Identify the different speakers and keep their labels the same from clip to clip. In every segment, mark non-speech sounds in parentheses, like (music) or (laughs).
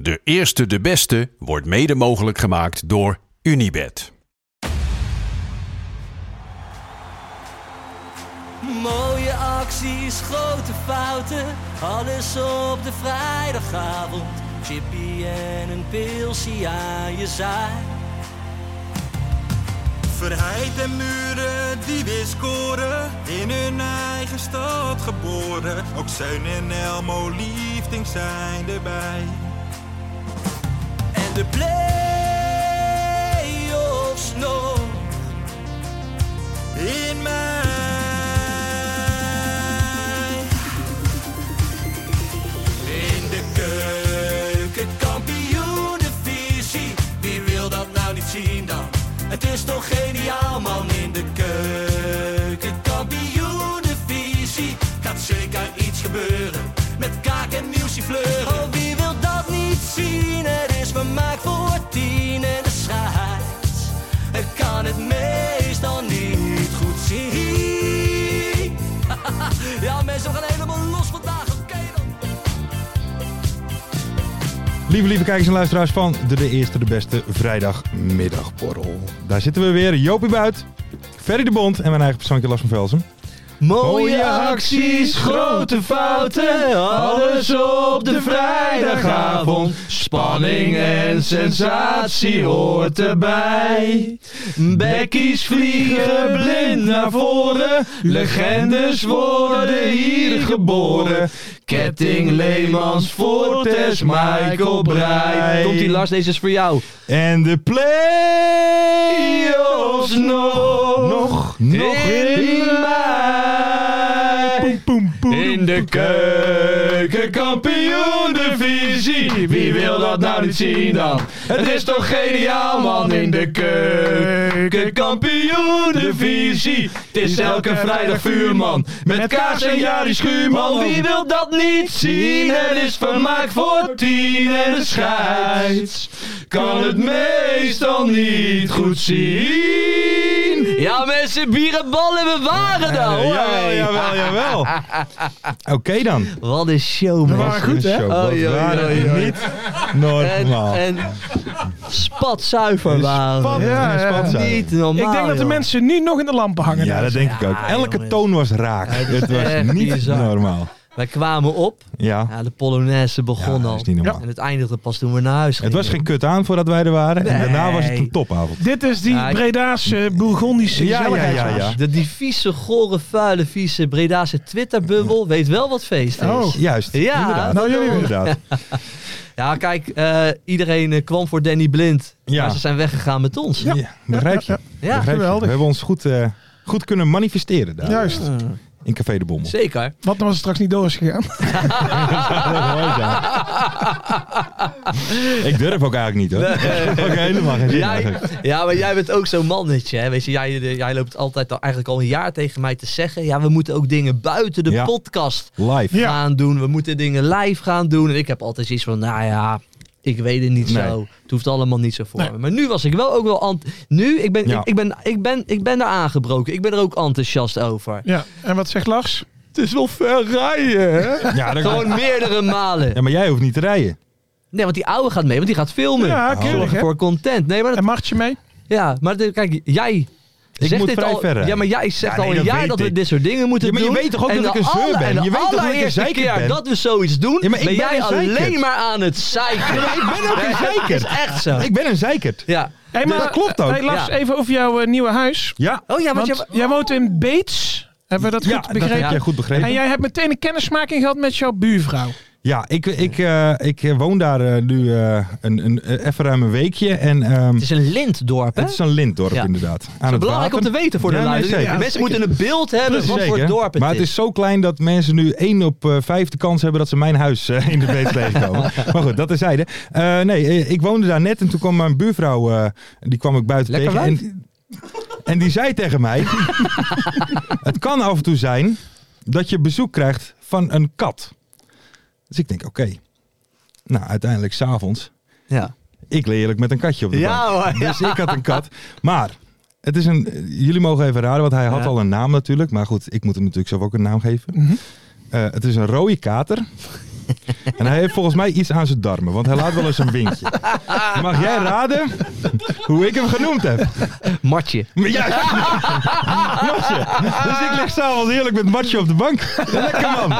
Speaker 1: De eerste de beste wordt mede mogelijk gemaakt door Unibed.
Speaker 2: Mooie acties, grote fouten, alles op de vrijdagavond. Chippy en een pilsie aan je zaai.
Speaker 3: Verheid en muren die weer scoren, in hun eigen stad geboren. Ook Zijn en Elmo liefding zijn erbij.
Speaker 2: En de play-offs nog
Speaker 3: In mij.
Speaker 2: in de keuken, kampioenenvisie. Wie wil dat nou niet zien dan? Het is toch geniaal man in de keuken, kampioenenvisie. Gaat zeker iets gebeuren met kaak en muziek fleuren. Oh, wie wil dat niet zien? Het is vermaakt voor tien en de scheids. Ik kan het meestal niet goed zien. (laughs) Ja, mensen, we gaan helemaal los vandaag. Oké dan.
Speaker 4: Lieve, lieve kijkers en luisteraars van de, de Eerste de Beste vrijdagmiddagborrel. Daar zitten we weer, Jopie Buit, Ferry de Bond en mijn eigen persoonlijke Lars van Velsen. Mooie acties, grote fouten, alles op de vrijdagavond. Spanning en sensatie hoort erbij. Bekkies vliegen blind naar voren, legendes worden hier geboren. Ketting Leemans, Fortes, Michael Breij.
Speaker 5: Komt die Lars, deze is voor jou.
Speaker 4: En de play-offs nog. Nog, nog in, mei. In de keuken, kampioen divisie. Wie wil dat nou niet zien dan? Het is toch geniaal man in de keuken, kampioen divisie. Het is elke vrijdag vuurman, met kaas en Jari Schuurman. Wie wil dat niet zien? Het is vermaakt voor tien en de scheids. Kan het meestal niet goed zien.
Speaker 5: Ja, mensen, bier en ballen, we waren er. hoor.
Speaker 4: Jawel, jawel, jawel. Oké dan.
Speaker 5: Wat een show, man.
Speaker 4: waren goed, hè? Nou.
Speaker 5: Oh, joh, joh, joh.
Speaker 4: niet normaal.
Speaker 5: En, en spatzuiver waren. we.
Speaker 4: ja,
Speaker 6: ja.
Speaker 5: Niet normaal,
Speaker 6: Ik denk dat de
Speaker 5: joh.
Speaker 6: mensen nu nog in de lampen hangen.
Speaker 4: ja, dat denk ik ook. Elke toon was raak. Het was
Speaker 5: echt
Speaker 4: niet
Speaker 5: bizar.
Speaker 4: normaal.
Speaker 5: Wij kwamen op.
Speaker 4: Ja,
Speaker 5: Ja, de Polonaise begon
Speaker 4: Ja,
Speaker 5: al.
Speaker 4: dat is niet normaal.
Speaker 5: En het eindigde pas toen we naar huis
Speaker 4: het
Speaker 5: gingen.
Speaker 4: was geen kut aan voordat wij er waren. En daarna was het een
Speaker 5: Nee.
Speaker 4: topavond.
Speaker 6: Dit is die
Speaker 5: Ja, ik-
Speaker 6: Bredaanse, Bourgondische
Speaker 4: Ja, ja, ja,
Speaker 6: gezelligheidshuis.
Speaker 4: ja.
Speaker 5: De die vieze, gore, vuile, vieze Bredaanse Twitterbubbel weet wel wat feest is.
Speaker 6: Oh.
Speaker 4: Juist,
Speaker 5: Ja,
Speaker 4: inderdaad.
Speaker 5: nou,
Speaker 4: jullie inderdaad.
Speaker 5: Ja, kijk, eh, iedereen eh, kwam voor Danny Blind.
Speaker 4: Ja.
Speaker 5: Maar ze zijn weggegaan met ons.
Speaker 4: Ja, begrijp je.
Speaker 5: Ja,
Speaker 4: Begrijp je.
Speaker 6: geweldig.
Speaker 4: We hebben ons goed, eh, goed kunnen manifesteren daar.
Speaker 6: Juist.
Speaker 5: Ah.
Speaker 4: In Café de Bommel.
Speaker 5: Zeker.
Speaker 6: Wat nou als het straks niet door is gegaan?
Speaker 4: ik durf ook eigenlijk niet hoor. Ik heb (laughs) ook helemaal geen zin in.
Speaker 5: Jij, ja, maar jij bent ook zo'n mannetje. Hè? Weet je, jij, de- jij loopt altijd al, eigenlijk al een jaar tegen mij te zeggen. Ja, we moeten ook dingen buiten de
Speaker 4: Ja.
Speaker 5: podcast
Speaker 4: Live.
Speaker 6: Ja.
Speaker 5: gaan doen. We moeten dingen live gaan doen. En ik heb altijd zoiets van, nou ja, ik weet het niet
Speaker 4: Nee.
Speaker 5: zo. Het hoeft allemaal niet zo voor me. Maar nu was ik wel ook wel... ant- Nu, ik ben,
Speaker 4: Ja.
Speaker 5: ik, ik ben, ik, ben, ik ben er aangebroken. Ik ben er ook enthousiast over.
Speaker 6: Ja. En wat zegt Lars?
Speaker 5: Het is wel ver rijden,
Speaker 4: Ja, dat-
Speaker 5: Gewoon meerdere malen.
Speaker 4: ja, maar jij hoeft niet te rijden.
Speaker 5: Nee, want die oude gaat mee,
Speaker 4: Oh.
Speaker 5: want die gaat filmen.
Speaker 6: Ja, keurig,
Speaker 5: Zorgen
Speaker 6: hè?
Speaker 5: voor content. Nee, maar dat-
Speaker 6: En Martje mee?
Speaker 5: ja, maar de- kijk, jij
Speaker 4: Ik
Speaker 5: Zeg
Speaker 4: moet
Speaker 5: dit
Speaker 4: vrij
Speaker 5: al,
Speaker 4: verre.
Speaker 5: Ja, maar jij zegt
Speaker 4: Ja, nee,
Speaker 5: al een
Speaker 4: dat
Speaker 5: jaar
Speaker 4: weet
Speaker 5: dat we
Speaker 4: ik.
Speaker 5: dit soort dingen moeten
Speaker 4: Ja, maar je
Speaker 5: doen.
Speaker 4: weet toch ook
Speaker 5: En
Speaker 4: dat ik
Speaker 5: de
Speaker 4: een zeur
Speaker 5: alle-
Speaker 4: ben?
Speaker 5: en de
Speaker 4: Je weet toch dat ik een
Speaker 5: allereerste
Speaker 4: zeikert
Speaker 5: keer
Speaker 4: ben?
Speaker 5: dat we zoiets doen,
Speaker 4: Ja, maar ik
Speaker 5: ben
Speaker 4: ben
Speaker 5: jij
Speaker 4: een zeikert.
Speaker 5: alleen maar aan het zeiken.
Speaker 4: Ik ben ook
Speaker 5: Dat
Speaker 4: een
Speaker 5: is
Speaker 4: zeikert.
Speaker 5: echt zo.
Speaker 4: Ik ben een zeikert.
Speaker 5: Ja.
Speaker 6: Hey, maar,
Speaker 4: Dat klopt ook.
Speaker 6: Hey, Lars,
Speaker 5: Ja.
Speaker 6: even over jouw eh, nieuwe huis.
Speaker 4: Ja,
Speaker 5: Oh ja, want,
Speaker 6: Want jij woont in Beets. Hebben we dat
Speaker 4: ja
Speaker 6: goed
Speaker 4: dat heb
Speaker 6: begrepen?
Speaker 4: jij goed begrepen.
Speaker 6: En jij hebt meteen een kennismaking gehad met jouw buurvrouw.
Speaker 4: Ja, ik, ik, eh, ik eh, woon daar eh, nu eh, een, een, eh, even ruim een weekje. En, ehm,
Speaker 5: Het is een lintdorp, hè?
Speaker 4: het is een lintdorp
Speaker 5: Ja.
Speaker 4: inderdaad. Aan het
Speaker 5: Belangrijk om
Speaker 4: water.
Speaker 5: te weten voor de
Speaker 4: Ja, nee,
Speaker 5: luisteraar.
Speaker 4: zeker.
Speaker 5: Mensen moeten een beeld hebben
Speaker 4: Precies,
Speaker 5: van wat voor
Speaker 4: zeker.
Speaker 5: dorp het
Speaker 4: maar
Speaker 5: is.
Speaker 4: het is zo klein dat mensen nu 1 op eh, 5 de kans hebben dat ze mijn huis eh,
Speaker 5: (laughs)
Speaker 4: in de beet tegenkomen. maar goed, dat terzijde. Eh nee, eh, ik woonde daar net en toen kwam mijn buurvrouw, eh, die kwam ik buiten
Speaker 5: Lekker
Speaker 4: tegen. En, en die zei tegen
Speaker 5: (laughs)
Speaker 4: mij, het kan af en toe zijn dat je bezoek krijgt van een kat. Dus ik denk, oké. Nou, uiteindelijk s'avonds.
Speaker 5: Ja,
Speaker 4: Ik leerlijk met een katje op de bank.
Speaker 5: ja hoor.
Speaker 4: Dus ik
Speaker 5: (laughs)
Speaker 4: had een kat. Maar het is een. eh, Jullie mogen even raden, want hij had
Speaker 5: Ja. Mhm.
Speaker 4: al een naam natuurlijk. Maar goed, ik moet hem natuurlijk zelf ook een naam geven. Eh, het is een rode
Speaker 5: (laughs)
Speaker 4: kater. en hij heeft volgens mij iets aan zijn darmen, want hij laat wel eens een winkje.
Speaker 5: (laughs)
Speaker 4: Mag jij raden hoe ik hem genoemd heb?
Speaker 5: Martje.
Speaker 4: Maar (laughs) juist. Matje. Dus ik lig s'avonds heerlijk met Matje op de bank. Lekker man.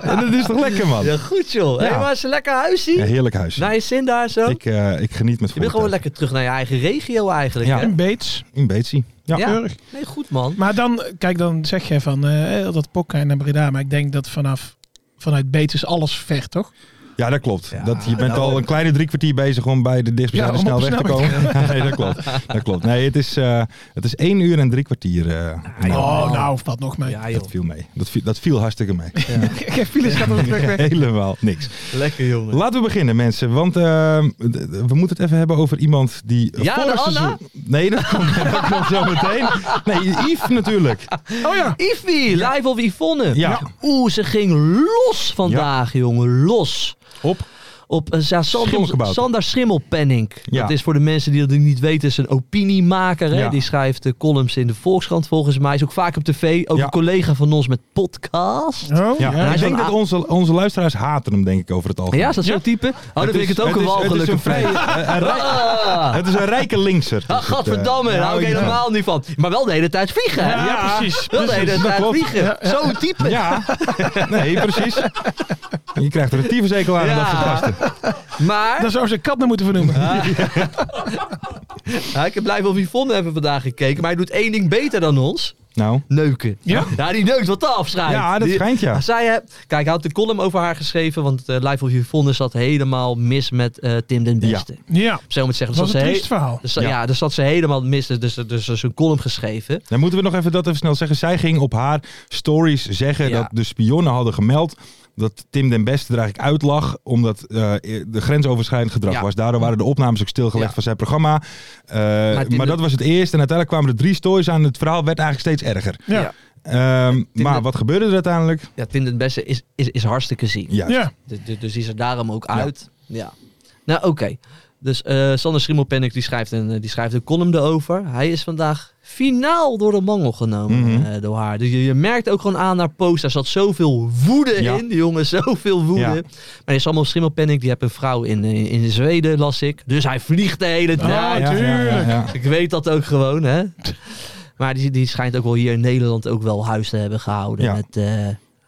Speaker 4: En dat is toch lekker man?
Speaker 5: Ja, goed joh.
Speaker 4: Ja.
Speaker 5: Hey, maar is een lekker huisje.
Speaker 4: Ja, heerlijk huis.
Speaker 5: Naar je zin daar zo.
Speaker 4: Ik, eh, ik geniet met
Speaker 5: je bent gewoon
Speaker 4: volle
Speaker 5: lekker terug naar je eigen regio eigenlijk.
Speaker 4: Ja.
Speaker 5: hè?
Speaker 6: In Beets.
Speaker 4: teugen. In Beetsie. Ja.
Speaker 6: keurig.
Speaker 5: Nee, goed man.
Speaker 6: Maar dan, kijk, dan zeg jij van eh, dat Pokka naar Breda. Maar ik denk dat vanaf, vanuit Beets is alles ver, toch?
Speaker 4: Ja, dat klopt.
Speaker 5: Ja,
Speaker 4: dat, je bent
Speaker 5: nou,
Speaker 4: al een kleine drie kwartier bezig om bij de dichtstbijzijnde
Speaker 6: Ja, om op
Speaker 4: snelweg te
Speaker 6: de
Speaker 4: komen. (laughs) nee, dat klopt. Dat klopt. Nee, het is, eh, het is één uur en drie kwartier. eh,
Speaker 5: joh.
Speaker 4: nou,
Speaker 6: Oh, nou, wat nog (laughs) mee.
Speaker 5: Ja
Speaker 4: dat
Speaker 5: joh.
Speaker 4: viel mee. Dat viel, dat viel hartstikke mee. (laughs)
Speaker 6: Geen files gaat op de terugweg.
Speaker 4: Helemaal niks.
Speaker 5: Lekker jongen.
Speaker 4: Laten we beginnen, mensen. Want eh, d- d- we moeten het even hebben over iemand die.
Speaker 5: Ja, de
Speaker 4: vorig
Speaker 5: Anna?
Speaker 4: seizoen- Nee, dat komt, (laughs) dat komt zo meteen. Nee, Yves natuurlijk.
Speaker 6: Oh ja.
Speaker 5: Ivy, live of Yvonne.
Speaker 4: Ja.
Speaker 5: Oeh, ze ging los vandaag, jongen. Los.
Speaker 4: Op.
Speaker 5: Op eh, Sa- Sander,
Speaker 4: Schimmelkabouter.
Speaker 5: Sander Schimmelpenning.
Speaker 4: Ja.
Speaker 5: Dat is voor de mensen die dat niet weten, is een opiniemaker. Hè?
Speaker 4: Ja.
Speaker 5: Die schrijft eh, columns in de Volkskrant volgens mij. Is ook vaak op tv. Ook
Speaker 4: Ja.
Speaker 5: een collega van ons met podcast.
Speaker 6: Oh,
Speaker 4: Ja.
Speaker 6: ja.
Speaker 4: ik
Speaker 5: is
Speaker 4: denk
Speaker 5: van
Speaker 4: dat
Speaker 5: A-
Speaker 4: onze, onze luisteraars haten hem, denk ik, over het algemeen.
Speaker 5: Ja, is dat zo'n
Speaker 6: Ja.
Speaker 5: type? Oh, dan vind ik het ook een
Speaker 4: is-
Speaker 5: walgelijke
Speaker 4: Het is een,
Speaker 5: vent.
Speaker 4: vrij-
Speaker 5: (laughs)
Speaker 4: een- een rij-
Speaker 5: Ah.
Speaker 4: Het is een rijke linkser. dus eh,
Speaker 5: Ah, gadverdamme, daar hou ik helemaal niet van. Maar wel de hele tijd vliegen. hè?
Speaker 6: Ja, precies.
Speaker 5: Wel de hele
Speaker 4: precies, dat
Speaker 5: tijd
Speaker 4: klopt.
Speaker 5: vliegen. Zo'n type.
Speaker 4: Ja, nee, precies. Je krijgt er een tyfushekel aan en dat soort
Speaker 5: Ja.
Speaker 4: gasten.
Speaker 5: Maar
Speaker 6: Daar zou ze een kat naar moeten vernoemen.
Speaker 5: ja, ik heb blij van Yvonne hebben vandaag gekeken. Maar hij doet één ding beter dan ons.
Speaker 4: Nou,
Speaker 5: Neuken.
Speaker 6: Ja?
Speaker 5: Ja, Nou, die neukt wat af, schijnt.
Speaker 4: ja, dat
Speaker 5: Ah, Die-
Speaker 4: schijnt ja.
Speaker 5: Zij, eh, kijk, hij had de column over haar geschreven, want eh, Live of Yvonne zat helemaal mis met eh, Tim den Beste.
Speaker 6: Ja.
Speaker 5: Zo moet zeggen.
Speaker 6: Dat was
Speaker 5: zat
Speaker 6: een
Speaker 5: ze he-
Speaker 6: triest verhaal.
Speaker 5: dus, ja. daar zat ze helemaal mis. Dus, dus, dus, dus een column geschreven.
Speaker 4: Dan moeten we nog even dat even snel zeggen. Zij ging op haar stories zeggen
Speaker 5: Ja.
Speaker 4: dat de spionnen hadden gemeld dat Tim den Beste er eigenlijk uitlag omdat eh, de grensoverschrijdend gedrag
Speaker 5: Ja.
Speaker 4: was. Daardoor waren de opnames ook stilgelegd
Speaker 5: Ja.
Speaker 4: van zijn programma. Eh, maar
Speaker 5: Tim den-
Speaker 4: dat was het eerst. En uiteindelijk kwamen er drie stories aan. Het verhaal werd eigenlijk steeds erger.
Speaker 6: Ja.
Speaker 5: Ja.
Speaker 6: Ja.
Speaker 4: Ehm, maar
Speaker 5: den-
Speaker 4: wat gebeurde er uiteindelijk?
Speaker 5: Ja, Tim den Beste is, is, is hartstikke ziek.
Speaker 4: Ja.
Speaker 5: Dus, dus, dus die is er daarom ook
Speaker 4: Ja.
Speaker 5: uit. Ja. Nou, oké. Dus eh Sander Schimmelpennik die schrijft, een, eh, die schrijft een column erover. Hij is vandaag finaal door de mangel genomen
Speaker 4: Mhm.
Speaker 5: eh, door haar. Dus je, je merkt ook gewoon aan haar post. Daar zat zoveel woede
Speaker 4: Ja.
Speaker 5: in. Die jongen, (laughs) zoveel woede.
Speaker 4: Ja.
Speaker 5: Maar die Sander Schimmelpennik die heeft een vrouw in, in, in Zweden, las ik. Dus hij vliegt de hele tijd.
Speaker 6: Ah,
Speaker 4: Ja, ja, ja,
Speaker 6: tuurlijk.
Speaker 4: ja.
Speaker 5: Ik weet dat ook gewoon, hè. Maar die, die schijnt ook wel hier in Nederland ook wel huis te hebben gehouden.
Speaker 4: Ja.
Speaker 5: Met, eh, van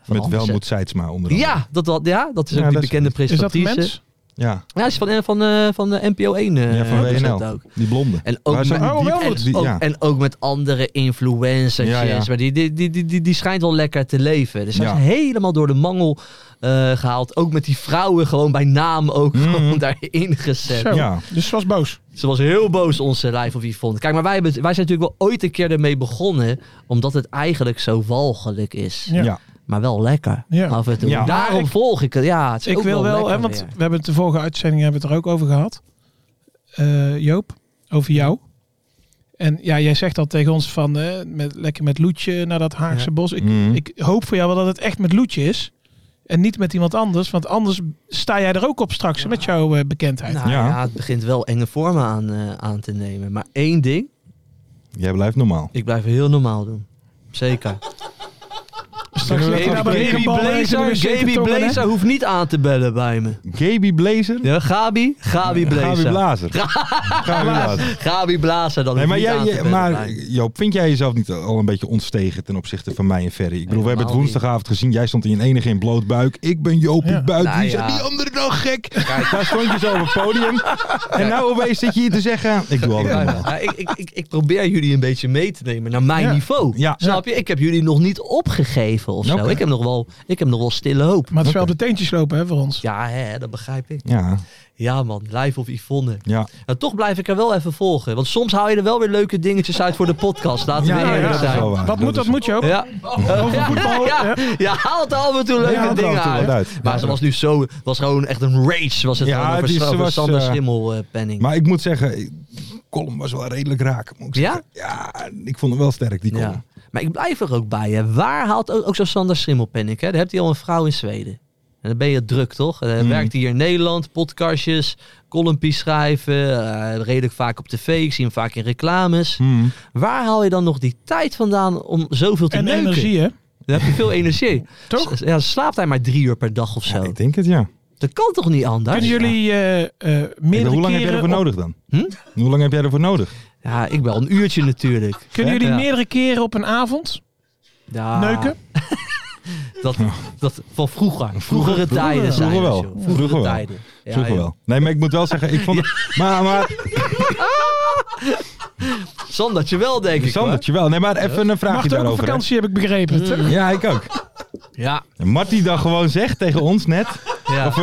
Speaker 4: Met
Speaker 5: Andersen.
Speaker 4: Welmoed Seidsma onder andere.
Speaker 5: Ja, dat, dat, ja, dat is ook
Speaker 4: Ja,
Speaker 5: die
Speaker 4: dat is-
Speaker 5: bekende
Speaker 6: Is dat een
Speaker 5: presentatrice.
Speaker 6: mens?
Speaker 4: Ja,
Speaker 5: Ja, is van, eh, van, eh, van de NPO 1. eh,
Speaker 4: Ja, van
Speaker 5: was
Speaker 4: WNL.
Speaker 5: dat ook.
Speaker 4: die blonde.
Speaker 5: En ook,
Speaker 4: Maar
Speaker 5: met,
Speaker 4: zo
Speaker 6: Oh,
Speaker 4: diep-
Speaker 6: wel
Speaker 5: en,
Speaker 6: goed.
Speaker 4: die-
Speaker 5: ook,
Speaker 4: ja.
Speaker 5: en ook met andere influencers.
Speaker 4: Ja, ja.
Speaker 5: Maar die, die, die, die, die, die schijnt wel lekker te leven. Dus hij
Speaker 4: Ja.
Speaker 5: is helemaal door de mangel eh, gehaald. Ook met die vrouwen gewoon bij naam ook
Speaker 4: Mhm.
Speaker 5: gewoon daarin gezet.
Speaker 6: Zo.
Speaker 4: Ja.
Speaker 6: Dus ze was boos.
Speaker 5: Ze was heel boos, onze Live of Yvonne. Kijk, maar wij, hebben, wij zijn natuurlijk wel ooit een keer ermee begonnen. Omdat het eigenlijk zo walgelijk is.
Speaker 6: Ja.
Speaker 4: Ja.
Speaker 5: Maar wel lekker.
Speaker 6: Ja.
Speaker 5: Af en toe.
Speaker 4: Ja.
Speaker 5: Daarom
Speaker 6: Maar ik-
Speaker 5: volg ik het. Ja, het is
Speaker 6: Ik
Speaker 5: ook
Speaker 6: wil wel,
Speaker 5: lekker
Speaker 6: hè, want
Speaker 5: weer.
Speaker 6: we hebben het de vorige uitzending hebben we het er ook over gehad. Eh, Joop, over jou. En ja, jij zegt al tegen ons van eh, met, lekker met Loetje naar dat Haagse
Speaker 5: Ja.
Speaker 6: bos. Ik,
Speaker 4: Mhm.
Speaker 6: ik hoop voor jou wel dat het echt met Loetje is. En niet met iemand anders. Want anders sta jij er ook op straks hè, met jouw eh, bekendheid.
Speaker 5: Nou ja.
Speaker 4: Ja.
Speaker 5: het begint wel enge vormen aan, eh, aan te nemen. Maar één ding,
Speaker 4: Jij blijft normaal.
Speaker 5: ik blijf heel normaal doen. Zeker.
Speaker 6: (laughs) Straks
Speaker 4: Zullen we
Speaker 6: ligt hij
Speaker 4: dat
Speaker 6: daar bij
Speaker 4: afspreken?
Speaker 6: de
Speaker 5: Gaby
Speaker 6: bal ergens in de
Speaker 5: Blazer,
Speaker 6: wc te
Speaker 5: Gaby
Speaker 6: tongen, hè?
Speaker 5: Blazer hoeft niet aan te bellen bij me.
Speaker 4: Gaby Blazer?
Speaker 5: Ja, Gabi, Gabi
Speaker 4: Gabi
Speaker 5: Blazer. (laughs)
Speaker 4: Blazer. Gabi Blazer.
Speaker 5: Gabi Blazer, dan
Speaker 4: Nee, maar,
Speaker 5: hoeft
Speaker 4: jij,
Speaker 5: niet aan
Speaker 4: jij-
Speaker 5: te bellen bij
Speaker 4: maar
Speaker 5: me.
Speaker 4: Joop, vind jij jezelf niet al een beetje ontstegen ten opzichte van mij en Ferry? Ik bedoel, we hebben het
Speaker 5: Helemaal niet.
Speaker 4: woensdagavond gezien. Jij stond in enige in bloot buik. Ik ben Joopie
Speaker 6: Ja.
Speaker 4: Buik.
Speaker 5: Nou
Speaker 4: Wie
Speaker 5: ja.
Speaker 4: zijn die anderen nou gek? daar stond je zo op
Speaker 5: (laughs)
Speaker 4: het podium. En nou opeens zit je hier te zeggen... Ik doe altijd
Speaker 5: Ja,
Speaker 4: normaal.
Speaker 5: ja, ik, ik, ik, ik probeer jullie een beetje mee te nemen naar mijn
Speaker 6: Ja. Nou,
Speaker 5: niveau.
Speaker 4: Ja.
Speaker 5: Snap je? Ik heb jullie nog niet opgegeven of zo.
Speaker 4: Oké.
Speaker 5: Ik, heb nog wel, ik heb nog wel stille hoop.
Speaker 6: Maar het is wel op de teentjes lopen hè, voor ons.
Speaker 5: Ja, hè, dat begrijp ik.
Speaker 4: Ja,
Speaker 5: Ja man, live of Yvonne.
Speaker 4: ja.
Speaker 5: Nou, toch blijf ik er wel even volgen. Want soms haal je er wel weer leuke dingetjes uit voor de podcast. Laten we
Speaker 4: Ja, ja,
Speaker 5: eerlijk
Speaker 4: dat is
Speaker 5: zijn.
Speaker 4: wel waar.
Speaker 6: Wat moet, dat
Speaker 4: is-
Speaker 6: moet je ook.
Speaker 5: Ja.
Speaker 6: Over voetbal.
Speaker 5: Ja, ja. Je haalt er af en toe leuke
Speaker 4: haalt er af en
Speaker 5: dingen
Speaker 4: toe
Speaker 5: uit.
Speaker 4: wat uit.
Speaker 5: Maar
Speaker 4: Ja.
Speaker 5: ze was nu zo, was gewoon echt een rage. Was het
Speaker 4: Ja,
Speaker 5: gewoon over,
Speaker 4: het is-
Speaker 5: Sa-
Speaker 4: ze
Speaker 5: over
Speaker 4: was,
Speaker 5: Sander
Speaker 4: eh,
Speaker 5: Schimmel eh, penning.
Speaker 4: Maar ik moet zeggen, column was wel redelijk raak. Moet ik
Speaker 5: Ja?
Speaker 4: zeggen. Ja, ik vond hem wel sterk, die column.
Speaker 5: ja. Maar ik blijf er ook bij. Hè. Waar haalt ook, ook zo'n Sander Schimmel penning? Hè? Daar hebt hij al een vrouw in Zweden. En dan ben je druk, toch? Eh,
Speaker 4: Mm.
Speaker 5: Werkt hij hier in Nederland, podcastjes, columnpies schrijven, eh, redelijk vaak op tv. Ik zie hem vaak in reclames.
Speaker 4: Hmm.
Speaker 5: Waar haal je dan nog die tijd vandaan om zoveel te
Speaker 6: En
Speaker 5: neuken?
Speaker 6: energie, hè?
Speaker 5: Dan heb je veel energie.
Speaker 6: Toch?
Speaker 5: S- Ja, slaapt hij maar drie uur per dag of zo.
Speaker 4: Ja, ik denk het, ja.
Speaker 5: Dat kan toch niet anders?
Speaker 6: Kunnen jullie eh, eh,
Speaker 4: Ik bedoel,
Speaker 6: meerdere
Speaker 4: Hoe lang heb jij
Speaker 6: keren
Speaker 4: ervoor
Speaker 6: op,
Speaker 4: nodig dan?
Speaker 5: Hm?
Speaker 4: Hoe lang heb jij ervoor nodig?
Speaker 5: Ja, ik wel een uurtje natuurlijk.
Speaker 6: kunnen
Speaker 5: Hè?
Speaker 6: jullie
Speaker 5: Ja. Ah,
Speaker 6: meerdere keren op een avond
Speaker 5: Ja,
Speaker 6: neuken?
Speaker 5: Dat, dat van vroeger. Vroegere tijden zijn.
Speaker 4: vroeger
Speaker 5: het,
Speaker 4: wel.
Speaker 5: joh.
Speaker 4: Vroeger
Speaker 5: Vroegere
Speaker 4: wel.
Speaker 5: tijden. Ja,
Speaker 4: Vroeger
Speaker 5: joh.
Speaker 4: wel. Nee, maar ik moet wel zeggen, ik vond
Speaker 5: (laughs)
Speaker 4: het... Maar, maar
Speaker 5: Sandertje wel, denk ik. hoor.
Speaker 4: Sandertje wel. Nee, maar even een vraagje
Speaker 6: Mag ook op
Speaker 4: daarover. hè.
Speaker 6: vakantie, heb ik begrepen. toch?
Speaker 4: Ja, ik ook.
Speaker 5: Ja.
Speaker 4: En Marty dan gewoon zegt tegen ons net,
Speaker 5: ja. Oh,
Speaker 4: of eh,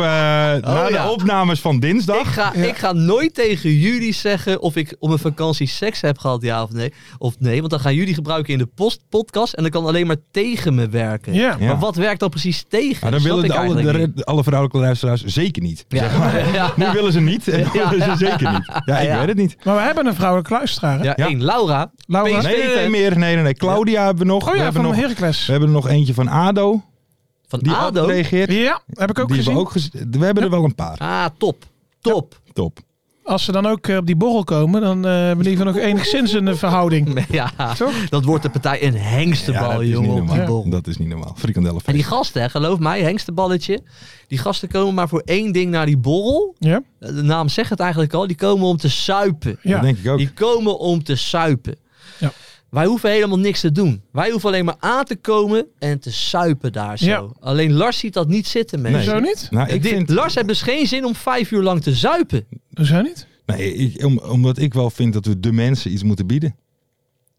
Speaker 5: ja.
Speaker 4: na de opnames van dinsdag,
Speaker 5: ik, ga, ik ga nooit tegen jullie zeggen of ik op mijn vakantie seks heb gehad, ja of nee. Of nee, want dan gaan jullie gebruiken in de post podcast en dan kan alleen maar tegen me werken.
Speaker 6: Ja.
Speaker 4: Ja.
Speaker 5: Maar wat werkt dan precies tegen?
Speaker 4: Maar dan
Speaker 5: Snap
Speaker 4: willen
Speaker 5: ik
Speaker 4: de, alle,
Speaker 5: eigenlijk
Speaker 4: de-
Speaker 5: niet.
Speaker 4: de- alle vrouwelijke luisteraars zeker niet.
Speaker 5: Ja. (laughs) Ja.
Speaker 4: Nu willen ze niet en dan
Speaker 5: Ja.
Speaker 4: willen ze zeker niet. Ja, ik
Speaker 5: Ja.
Speaker 4: weet het niet.
Speaker 6: Maar we hebben een vrouwelijke luisteraar. hè? Oh
Speaker 5: Ja,
Speaker 4: Ja.
Speaker 5: één, Laura.
Speaker 6: Laura?
Speaker 5: PSV
Speaker 4: Nee, nee, nee,
Speaker 5: fan.
Speaker 4: meer. Nee, nee, nee. Claudia hebben we nog.
Speaker 6: Oh
Speaker 4: we,
Speaker 6: ja,
Speaker 4: hebben
Speaker 6: van
Speaker 4: nog we
Speaker 6: Heracles.
Speaker 4: hebben er nog eentje van ADO.
Speaker 5: Van
Speaker 4: Die
Speaker 5: ADO.
Speaker 4: reageert.
Speaker 6: Ja, heb ik ook
Speaker 4: die hebben
Speaker 6: gezien.
Speaker 4: we ook gez- We hebben er wel een paar.
Speaker 5: Ah, top. Top.
Speaker 4: Top.
Speaker 6: Als ze dan ook eh, op die borrel komen, dan eh hebben die van nog enigszins een eh, verhouding.
Speaker 5: (laughs) Ja,
Speaker 6: Toch?
Speaker 5: dat wordt de partij een hengstebal,
Speaker 4: dat, is niet
Speaker 5: jongen. op die
Speaker 4: normaal.
Speaker 5: borrel.
Speaker 4: dat is niet normaal. Frikandellen.
Speaker 5: En die gasten, hè, geloof mij, hengsteballetje. Die gasten komen maar voor één ding naar die borrel.
Speaker 6: Ja,
Speaker 5: Eh, De naam zegt het eigenlijk al. Die komen om te suipen.
Speaker 6: ja.
Speaker 4: Dat denk ik ook.
Speaker 5: Die komen om te suipen.
Speaker 6: Ja.
Speaker 5: Wij hoeven helemaal niks te doen. Wij hoeven alleen maar aan te komen en te suipen daar zo.
Speaker 6: Ja.
Speaker 5: Alleen Lars ziet dat niet zitten, mensen.
Speaker 6: Hoezo niet?
Speaker 4: Nou, ik
Speaker 5: Dit-
Speaker 4: vind,
Speaker 5: Lars heeft dus geen zin om vijf uur lang te zuipen.
Speaker 6: Hoezo niet?
Speaker 4: nee, ik, om- omdat ik wel vind dat we de mensen iets moeten bieden.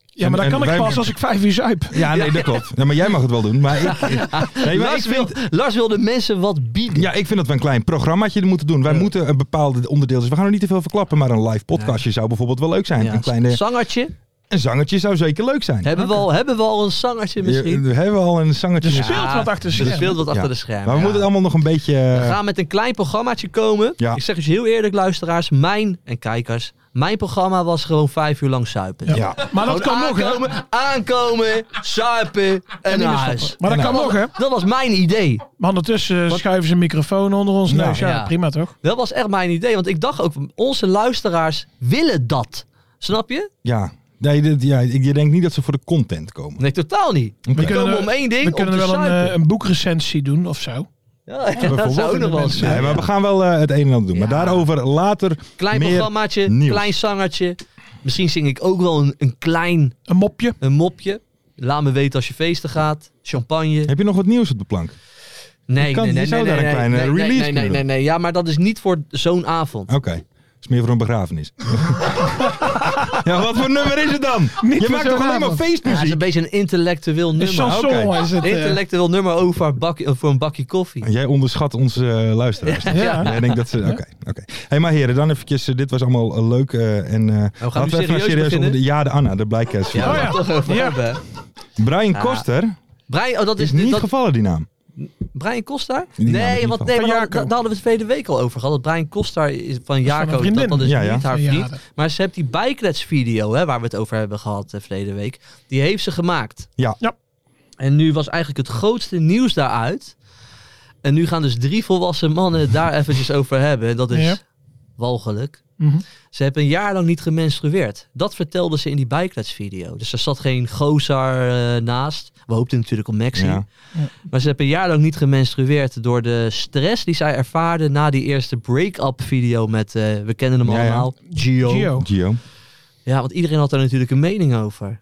Speaker 6: Ja, maar
Speaker 4: En-
Speaker 6: dat kan
Speaker 4: en
Speaker 6: ik
Speaker 4: wij-
Speaker 6: pas als ik vijf uur zuip.
Speaker 4: Ja, nee, dat klopt. Ja, maar jij mag het wel doen. Maar ik, nee, maar ik
Speaker 5: Lars,
Speaker 4: vind,
Speaker 5: wil, Lars wil de mensen wat bieden.
Speaker 4: ja, ik vind dat we een klein programmaatje moeten doen. Wij moeten een bepaald onderdeel. Dus we gaan er niet te veel verklappen. Maar een live podcastje zou bijvoorbeeld wel leuk zijn.
Speaker 5: Ja,
Speaker 4: Een, kleine,
Speaker 5: Zangertje.
Speaker 4: een zangertje zou zeker leuk zijn.
Speaker 5: Hebben we, al, hebben we al een zangertje misschien?
Speaker 4: Je- We hebben al een zangertje.
Speaker 6: Dus er speelt wat achter de
Speaker 5: Er
Speaker 6: schermen.
Speaker 5: speelt wat achter
Speaker 4: Ja.
Speaker 5: de schermen.
Speaker 4: Maar we
Speaker 5: ja.
Speaker 4: moeten het allemaal nog een beetje...
Speaker 5: We gaan met een klein programmaatje komen.
Speaker 4: Eh. Ja.
Speaker 5: Ik zeg eens heel eerlijk, luisteraars, mijn en kijkers. Mijn programma was gewoon vijf uur lang zuipen.
Speaker 4: ja.
Speaker 6: Maar dat kan
Speaker 5: Gewoon
Speaker 6: nog, hè?
Speaker 5: aankomen, aankomen, zuipen en
Speaker 6: En
Speaker 5: naar
Speaker 6: niet meer
Speaker 5: huis.
Speaker 6: stoppen. Maar dat
Speaker 4: En
Speaker 6: kan nog, hè?
Speaker 5: Dat was mijn idee.
Speaker 6: Maar ondertussen eh, schuiven ze een microfoon onder ons
Speaker 4: Ja.
Speaker 6: neus. Ja,
Speaker 5: Ja.
Speaker 6: prima toch?
Speaker 5: Dat was echt mijn idee. Want ik dacht ook, onze luisteraars willen dat. Snap je?
Speaker 4: Ja. Nee, dit- ja, ik- je denkt niet dat ze voor de content komen.
Speaker 5: Nee, totaal niet.
Speaker 4: Oké.
Speaker 5: We
Speaker 6: kunnen
Speaker 5: komen
Speaker 6: er-
Speaker 5: om één ding,
Speaker 6: We kunnen
Speaker 5: om te
Speaker 6: wel een, eh,
Speaker 5: zuipen.
Speaker 6: een boekrecensie doen of zo.
Speaker 5: ja, (laughs) dat zou ook nog wel eens
Speaker 6: mensen.
Speaker 5: zijn.
Speaker 4: Nee, maar we gaan wel eh, het een en ander doen. Maar
Speaker 5: Ja.
Speaker 4: daarover later
Speaker 5: Klein
Speaker 4: meer
Speaker 5: programmaatje,
Speaker 4: nieuws.
Speaker 5: klein zangertje. Misschien zing ik ook wel een, een klein
Speaker 6: Een mopje.
Speaker 5: een mopje. Laat me weten als je feesten gaat. Champagne.
Speaker 4: Heb je nog wat nieuws op de plank?
Speaker 5: Nee,
Speaker 4: kan-
Speaker 5: nee,
Speaker 4: je
Speaker 5: nee, nee,
Speaker 4: zou
Speaker 5: nee,
Speaker 4: daar een
Speaker 5: nee,
Speaker 4: kleine
Speaker 5: nee,
Speaker 4: release
Speaker 5: nee, nee, nee,
Speaker 4: kunnen
Speaker 5: nee,
Speaker 4: doen.
Speaker 5: nee. Ja, maar dat is niet voor zo'n avond.
Speaker 4: Oké. Is meer voor een
Speaker 5: (laughs)
Speaker 4: begrafenis. ja, wat voor nummer is het dan?
Speaker 6: Niet
Speaker 4: je
Speaker 6: voor
Speaker 4: maakt toch
Speaker 6: zo'n
Speaker 4: alleen
Speaker 6: avond.
Speaker 4: maar
Speaker 5: Ja, het is
Speaker 4: feestmuziek?
Speaker 5: een beetje een intellectueel
Speaker 6: Een
Speaker 5: nummer.
Speaker 6: chanson
Speaker 4: oké.
Speaker 6: is het.
Speaker 5: Ah,
Speaker 6: eh.
Speaker 5: Intellectueel nummer over een bakje- voor een bakje koffie.
Speaker 4: Jij onderschat onze eh, luisteraars.
Speaker 6: Ja.
Speaker 4: Jij denkt dat ze... Oké, oké. hey, maar heren, dan eventjes... eh, dit was allemaal eh, leuk. eh, en, eh,
Speaker 5: Nou, gaan nu
Speaker 4: laten we even
Speaker 5: serieus beginnen?
Speaker 4: onder de... Ja, de Anna, de blijkers.
Speaker 5: Ja,
Speaker 6: Oh
Speaker 5: we
Speaker 6: ja.
Speaker 5: gaan het toch over
Speaker 6: Ja.
Speaker 5: hebben.
Speaker 4: Brian
Speaker 5: Ah.
Speaker 4: Koster
Speaker 5: Brian, oh, dat
Speaker 4: is
Speaker 5: is,
Speaker 4: niet
Speaker 5: dat,
Speaker 4: gevallen, die naam.
Speaker 5: Brian Koster?
Speaker 4: Die naam is
Speaker 5: Nee,
Speaker 4: niet
Speaker 5: want,
Speaker 4: van-
Speaker 5: nee maar
Speaker 6: Van
Speaker 5: daar,
Speaker 6: Jaco.
Speaker 5: daar hadden we het verleden week al over gehad. Dat Brian Koster is van Jaco, dat,
Speaker 6: vriendin.
Speaker 5: dat is
Speaker 4: Ja, ja.
Speaker 5: niet haar
Speaker 6: Ja,
Speaker 5: vriend.
Speaker 6: dat-
Speaker 5: Maar ze heeft die bijklets video, hè, waar we het over hebben gehad eh, verleden week, die heeft ze gemaakt.
Speaker 4: Ja.
Speaker 6: Ja.
Speaker 5: En nu was eigenlijk het grootste nieuws daaruit. En nu gaan dus drie volwassen mannen het daar eventjes over hebben. Dat is
Speaker 6: Ja.
Speaker 5: walgelijk.
Speaker 6: Mhm.
Speaker 5: Ze hebben een jaar lang niet gemenstrueerd. Dat vertelde ze in die bijkletsvideo. Dus er zat geen gozar eh, naast. We hoopten natuurlijk op Maxi.
Speaker 4: Ja.
Speaker 5: Maar ze hebben een jaar lang niet gemenstrueerd door de stress die zij ervaarde na die eerste break-up video met, eh, we kennen hem
Speaker 4: Ja, ja.
Speaker 5: allemaal, Gio.
Speaker 6: Gio.
Speaker 4: Gio.
Speaker 5: Ja, want iedereen had daar natuurlijk een mening over.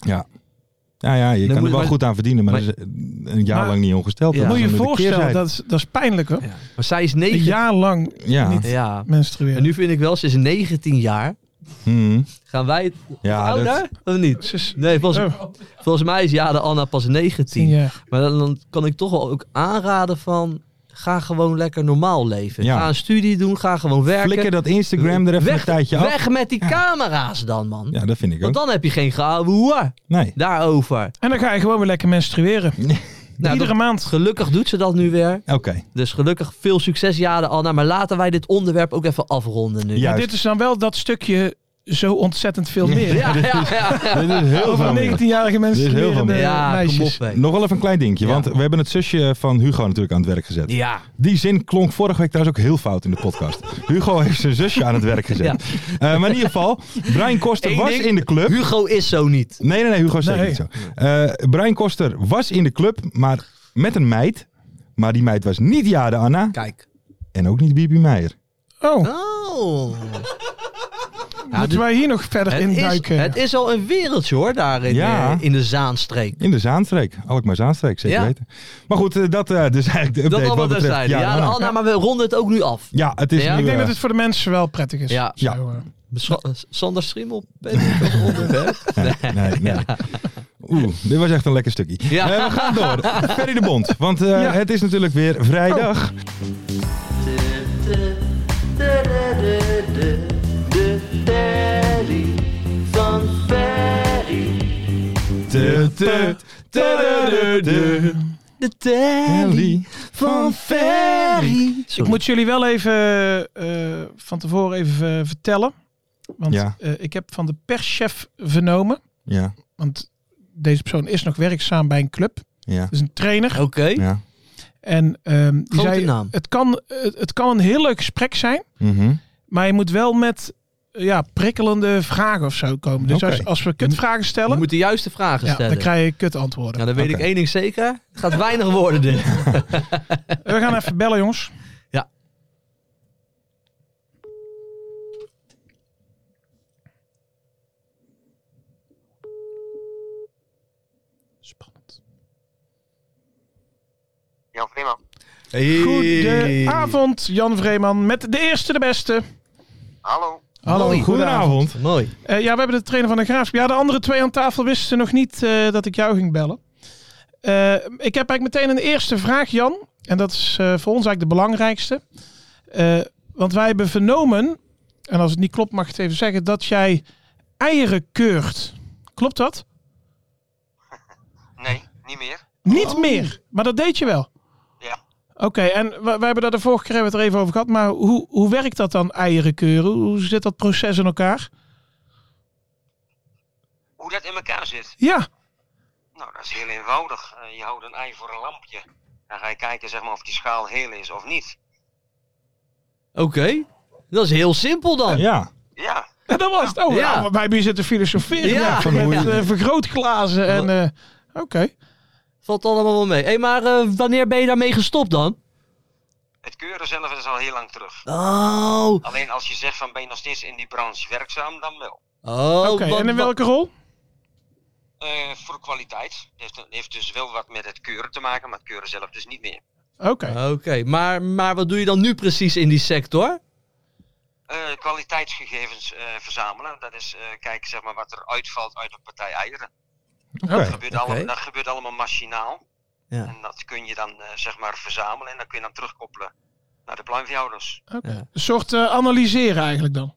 Speaker 4: Ja, ja, je
Speaker 5: Dan
Speaker 4: kan
Speaker 5: moet-
Speaker 4: er wel
Speaker 5: maar-
Speaker 4: goed aan verdienen, maar,
Speaker 5: maar-
Speaker 4: dat is een jaar
Speaker 6: Maar-
Speaker 4: lang niet ongesteld.
Speaker 5: Ja.
Speaker 4: Dat
Speaker 6: Moet
Speaker 4: is
Speaker 6: je je
Speaker 4: dan weer de
Speaker 6: voorstellen,
Speaker 4: keerzijde.
Speaker 6: dat is, dat is pijnlijk hoor.
Speaker 5: Maar zij is
Speaker 6: Een
Speaker 5: 19.
Speaker 6: jaar lang
Speaker 4: Ja.
Speaker 6: niet-
Speaker 5: Ja. En
Speaker 6: menstrueren.
Speaker 5: nu vind ik wel, ze is 19 jaar.
Speaker 4: Hmm.
Speaker 5: Gaan wij het
Speaker 4: Ja, dat-
Speaker 5: ouder of niet?
Speaker 6: Ze is
Speaker 5: Nee, volgens,
Speaker 6: oh,
Speaker 5: volgens mij is Jade Anna pas
Speaker 6: 10
Speaker 5: 19.
Speaker 6: jaar.
Speaker 5: Maar dan, dan kan ik toch wel ook aanraden van... Ga gewoon lekker normaal leven.
Speaker 4: Ja.
Speaker 5: Ga een studie doen, ga gewoon werken.
Speaker 4: Flikker dat Instagram er even
Speaker 5: weg,
Speaker 4: een tijdje af.
Speaker 5: Weg met die camera's dan, man.
Speaker 4: Ja, dat vind ik
Speaker 5: Want
Speaker 4: ook.
Speaker 5: dan heb je geen gehouden hoer
Speaker 4: Nee.
Speaker 5: daarover.
Speaker 6: En dan ga je gewoon weer lekker menstrueren.
Speaker 5: Nou,
Speaker 6: Iedere
Speaker 5: dat-
Speaker 6: maand.
Speaker 5: Gelukkig doet ze dat nu weer.
Speaker 4: Oké.
Speaker 5: Dus gelukkig veel succes, Jade Anna. Maar laten wij dit onderwerp ook even afronden nu.
Speaker 4: Ja.
Speaker 6: Ja,
Speaker 4: Juist.
Speaker 6: dit is dan wel dat stukje zo ontzettend veel meer.
Speaker 5: ja, ja, ja. (laughs)
Speaker 4: Dit is heel
Speaker 6: Over
Speaker 4: veel meer.
Speaker 6: 19-jarige
Speaker 4: Dit is heel veel
Speaker 6: menstruerende
Speaker 4: meer.
Speaker 5: Ja, kom op,
Speaker 6: meisjes.
Speaker 5: hé.
Speaker 4: Nog wel even een klein dingetje,
Speaker 5: Ja.
Speaker 4: want we hebben het zusje van Hugo natuurlijk aan het werk gezet.
Speaker 5: Ja.
Speaker 4: Die zin klonk vorige week trouwens ook heel fout in de podcast.
Speaker 5: (laughs)
Speaker 4: Hugo heeft zijn zusje aan het werk gezet.
Speaker 5: Ja.
Speaker 4: Eh, maar in ieder geval, Brian Koster
Speaker 5: Eén
Speaker 4: was
Speaker 5: ding.
Speaker 4: in de club.
Speaker 5: Hugo is zo niet.
Speaker 4: Nee, nee, nee, Hugo is zeker
Speaker 6: Nee.
Speaker 4: niet zo. Eh, Brian Koster was in de club, maar met een meid. Maar die meid was niet Jade Anna
Speaker 5: Kijk.
Speaker 4: en ook niet Bibi Meijer.
Speaker 6: Oh,
Speaker 5: Oh. Ja,
Speaker 6: moeten
Speaker 5: dus
Speaker 6: wij hier nog verder
Speaker 5: het,
Speaker 6: in
Speaker 5: is,
Speaker 6: duiken?
Speaker 5: het is al een wereldje hoor, daar in,
Speaker 4: Ja.
Speaker 5: eh, in de Zaanstreek.
Speaker 4: In de Zaanstreek, Alkmaar Zaanstreek, zeker
Speaker 5: Ja.
Speaker 4: weten. Maar goed, eh, dat is dus eigenlijk de
Speaker 5: Dat
Speaker 4: update
Speaker 5: allemaal
Speaker 4: wat betreft
Speaker 5: terzijde. Ja,
Speaker 4: Jade Anna.
Speaker 5: Anna, maar we ronden het ook nu af.
Speaker 4: Ja, het is
Speaker 5: Ja.
Speaker 4: nu,
Speaker 5: Ik
Speaker 6: Ik denk
Speaker 4: eh,
Speaker 6: dat het voor de mensen wel prettig is.
Speaker 5: Ja.
Speaker 4: Ja.
Speaker 6: Zo, eh.
Speaker 5: Sa- Sander Schimmel, ben ik ook onderwerp?
Speaker 4: Nee, nee, nee. Oeh, dit was echt een lekker stukje.
Speaker 5: Ja.
Speaker 4: Eh, we gaan
Speaker 5: (laughs)
Speaker 4: door. Ferry de Bond. Want eh, het is natuurlijk weer
Speaker 5: Oh.
Speaker 4: vrijdag. De Ferry
Speaker 5: De telly
Speaker 4: van Ferry.
Speaker 6: Ik moet jullie wel even eh, van tevoren even eh, vertellen. Want
Speaker 4: Ja.
Speaker 6: eh, ik heb van de perschef vernomen.
Speaker 4: Ja,
Speaker 6: Want deze persoon is nog werkzaam bij een club.
Speaker 4: ja,
Speaker 6: Dus een trainer.
Speaker 5: Oké.
Speaker 4: ja.
Speaker 6: En ehm, die
Speaker 5: Oh. Grote
Speaker 6: zei,
Speaker 5: naam.
Speaker 6: Het, kan, het, het kan een heel leuk gesprek zijn.
Speaker 4: Mhm.
Speaker 6: Maar je moet wel met eh, ja, prikkelende vragen of zo komen. Dus
Speaker 4: Oké.
Speaker 6: als, als we kutvragen
Speaker 5: Je
Speaker 6: stellen,
Speaker 5: moet de juiste vragen
Speaker 6: ja,
Speaker 5: stellen.
Speaker 6: dan krijg je kutantwoorden.
Speaker 5: Nou, dan weet
Speaker 4: Oké.
Speaker 5: ik één ding zeker. Het gaat weinig worden dit.
Speaker 6: Eh, We gaan even bellen, jongens.
Speaker 5: (laughs) Ja.
Speaker 6: Spannend.
Speaker 7: Jan Vreeman. Ah,
Speaker 6: Goedenavond, Jan Vreeman met de eerste, de beste.
Speaker 7: Hallo.
Speaker 6: Hallo,
Speaker 5: Hoi.
Speaker 4: Goedenavond.
Speaker 5: Mooi.
Speaker 6: Eh, ja, we hebben de trainer van de Graafschap. Ja, de andere twee aan tafel wisten nog niet eh, dat ik jou ging bellen. Eh, ik heb eigenlijk meteen een eerste vraag, Jan. En dat is eh, voor ons eigenlijk de belangrijkste. Eh, want wij hebben vernomen, en als het niet klopt mag ik het even zeggen, dat jij eieren keurt. Klopt dat?
Speaker 7: Nee, niet meer.
Speaker 6: Niet
Speaker 5: Oh.
Speaker 6: meer, maar dat deed je wel.
Speaker 7: Ja.
Speaker 6: Oké, en we- wij hebben daar de vorige keer hebben we het er even over gehad. Maar hoe, hoe werkt dat dan, eieren keuren? Hoe zit dat proces in elkaar?
Speaker 7: Hoe dat in elkaar zit?
Speaker 6: Ja,
Speaker 7: Nou, dat is heel eenvoudig. Eh, je houdt een ei voor een lampje. Dan ga je kijken zeg maar, of die schaal heel is of niet.
Speaker 5: Oké. Dat is heel simpel dan.
Speaker 4: Ja,
Speaker 7: Ja,
Speaker 6: en dat was het. Oh,
Speaker 5: Ja.
Speaker 6: ja. maar wij hebben hier zitten filosoferen.
Speaker 5: Ja.
Speaker 6: Ja,
Speaker 4: Van
Speaker 6: met
Speaker 4: hoe je-
Speaker 6: eh, vergrootglazen. En, eh, Oké.
Speaker 5: (laughs) Valt allemaal wel mee. Hé, maar eh, wanneer ben je daarmee gestopt dan?
Speaker 7: het keuren zelf is al heel lang terug.
Speaker 5: Oh.
Speaker 7: Alleen als je zegt van ben je nog steeds in die branche werkzaam, dan wel.
Speaker 5: Oh.
Speaker 6: Oké,
Speaker 5: wat-
Speaker 6: en in welke rol?
Speaker 7: Eh, voor kwaliteit. Het heeft, het heeft dus wel wat met het keuren te maken, maar het keuren zelf dus niet meer.
Speaker 6: Oké.
Speaker 5: Oké, maar, maar wat doe je dan nu precies in die sector?
Speaker 7: Eh, kwaliteitsgegevens eh, verzamelen. Dat is eh, kijken zeg maar, wat er uitvalt uit een partij eieren.
Speaker 4: oké.
Speaker 7: Dat, gebeurt
Speaker 5: Oké.
Speaker 7: allemaal, dat gebeurt allemaal machinaal.
Speaker 5: Ja.
Speaker 7: En dat kun je dan eh, zeg maar verzamelen en dan kun je dan terugkoppelen naar de pluimveehouders.
Speaker 6: Een soort eh, analyseren eigenlijk dan.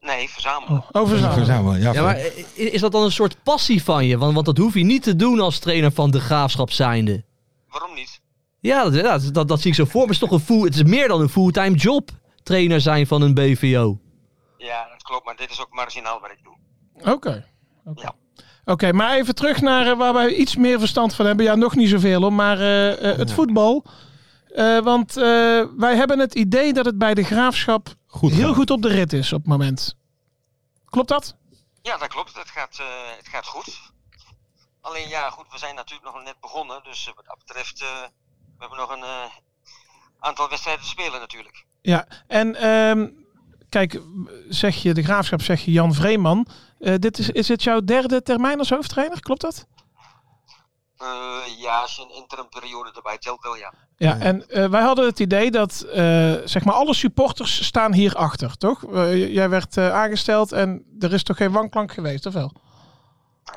Speaker 7: Nee, verzamelen.
Speaker 6: Oh, overzaam.
Speaker 4: Verzamelen, ja.
Speaker 5: Ja, maar eh, is dat dan een soort passie van je? Want, want dat hoef je niet te doen als trainer van de graafschap zijnde.
Speaker 7: Waarom niet?
Speaker 5: Ja, dat, ja, dat, dat, dat zie ik zo voor me. Het is toch een full, het is meer dan een fulltime job. Trainer zijn van een BVO.
Speaker 7: Ja, dat klopt, maar dit is ook marginaal wat ik doe.
Speaker 6: Oké. Oké.
Speaker 7: Ja.
Speaker 6: Oké, maar even terug naar eh, waar wij iets meer verstand van hebben. Ja, nog niet zoveel hoor, maar eh, eh, het voetbal. Eh, want eh, wij hebben het idee dat het bij de graafschap
Speaker 4: Goed.
Speaker 6: heel
Speaker 4: gedaan.
Speaker 6: goed op de rit is op het moment. Klopt dat?
Speaker 7: Ja, dat klopt. Het gaat, eh, het gaat goed. Alleen ja, goed, we zijn natuurlijk nog net begonnen. Dus eh, wat dat betreft, eh, we hebben nog een eh, aantal wedstrijden te spelen natuurlijk.
Speaker 6: Ja. En ehm, kijk, zeg je de graafschap, zeg je Jan Vreeman. Eh, dit is, is dit jouw derde termijn als hoofdtrainer? Klopt dat?
Speaker 7: Eh, ja, als je een interimperiode erbij telt wel, ja.
Speaker 6: Ja, en eh, wij hadden het idee dat eh, zeg maar alle supporters staan hierachter, toch? Eh, jij werd eh, aangesteld en er is toch geen wanklank geweest, of wel?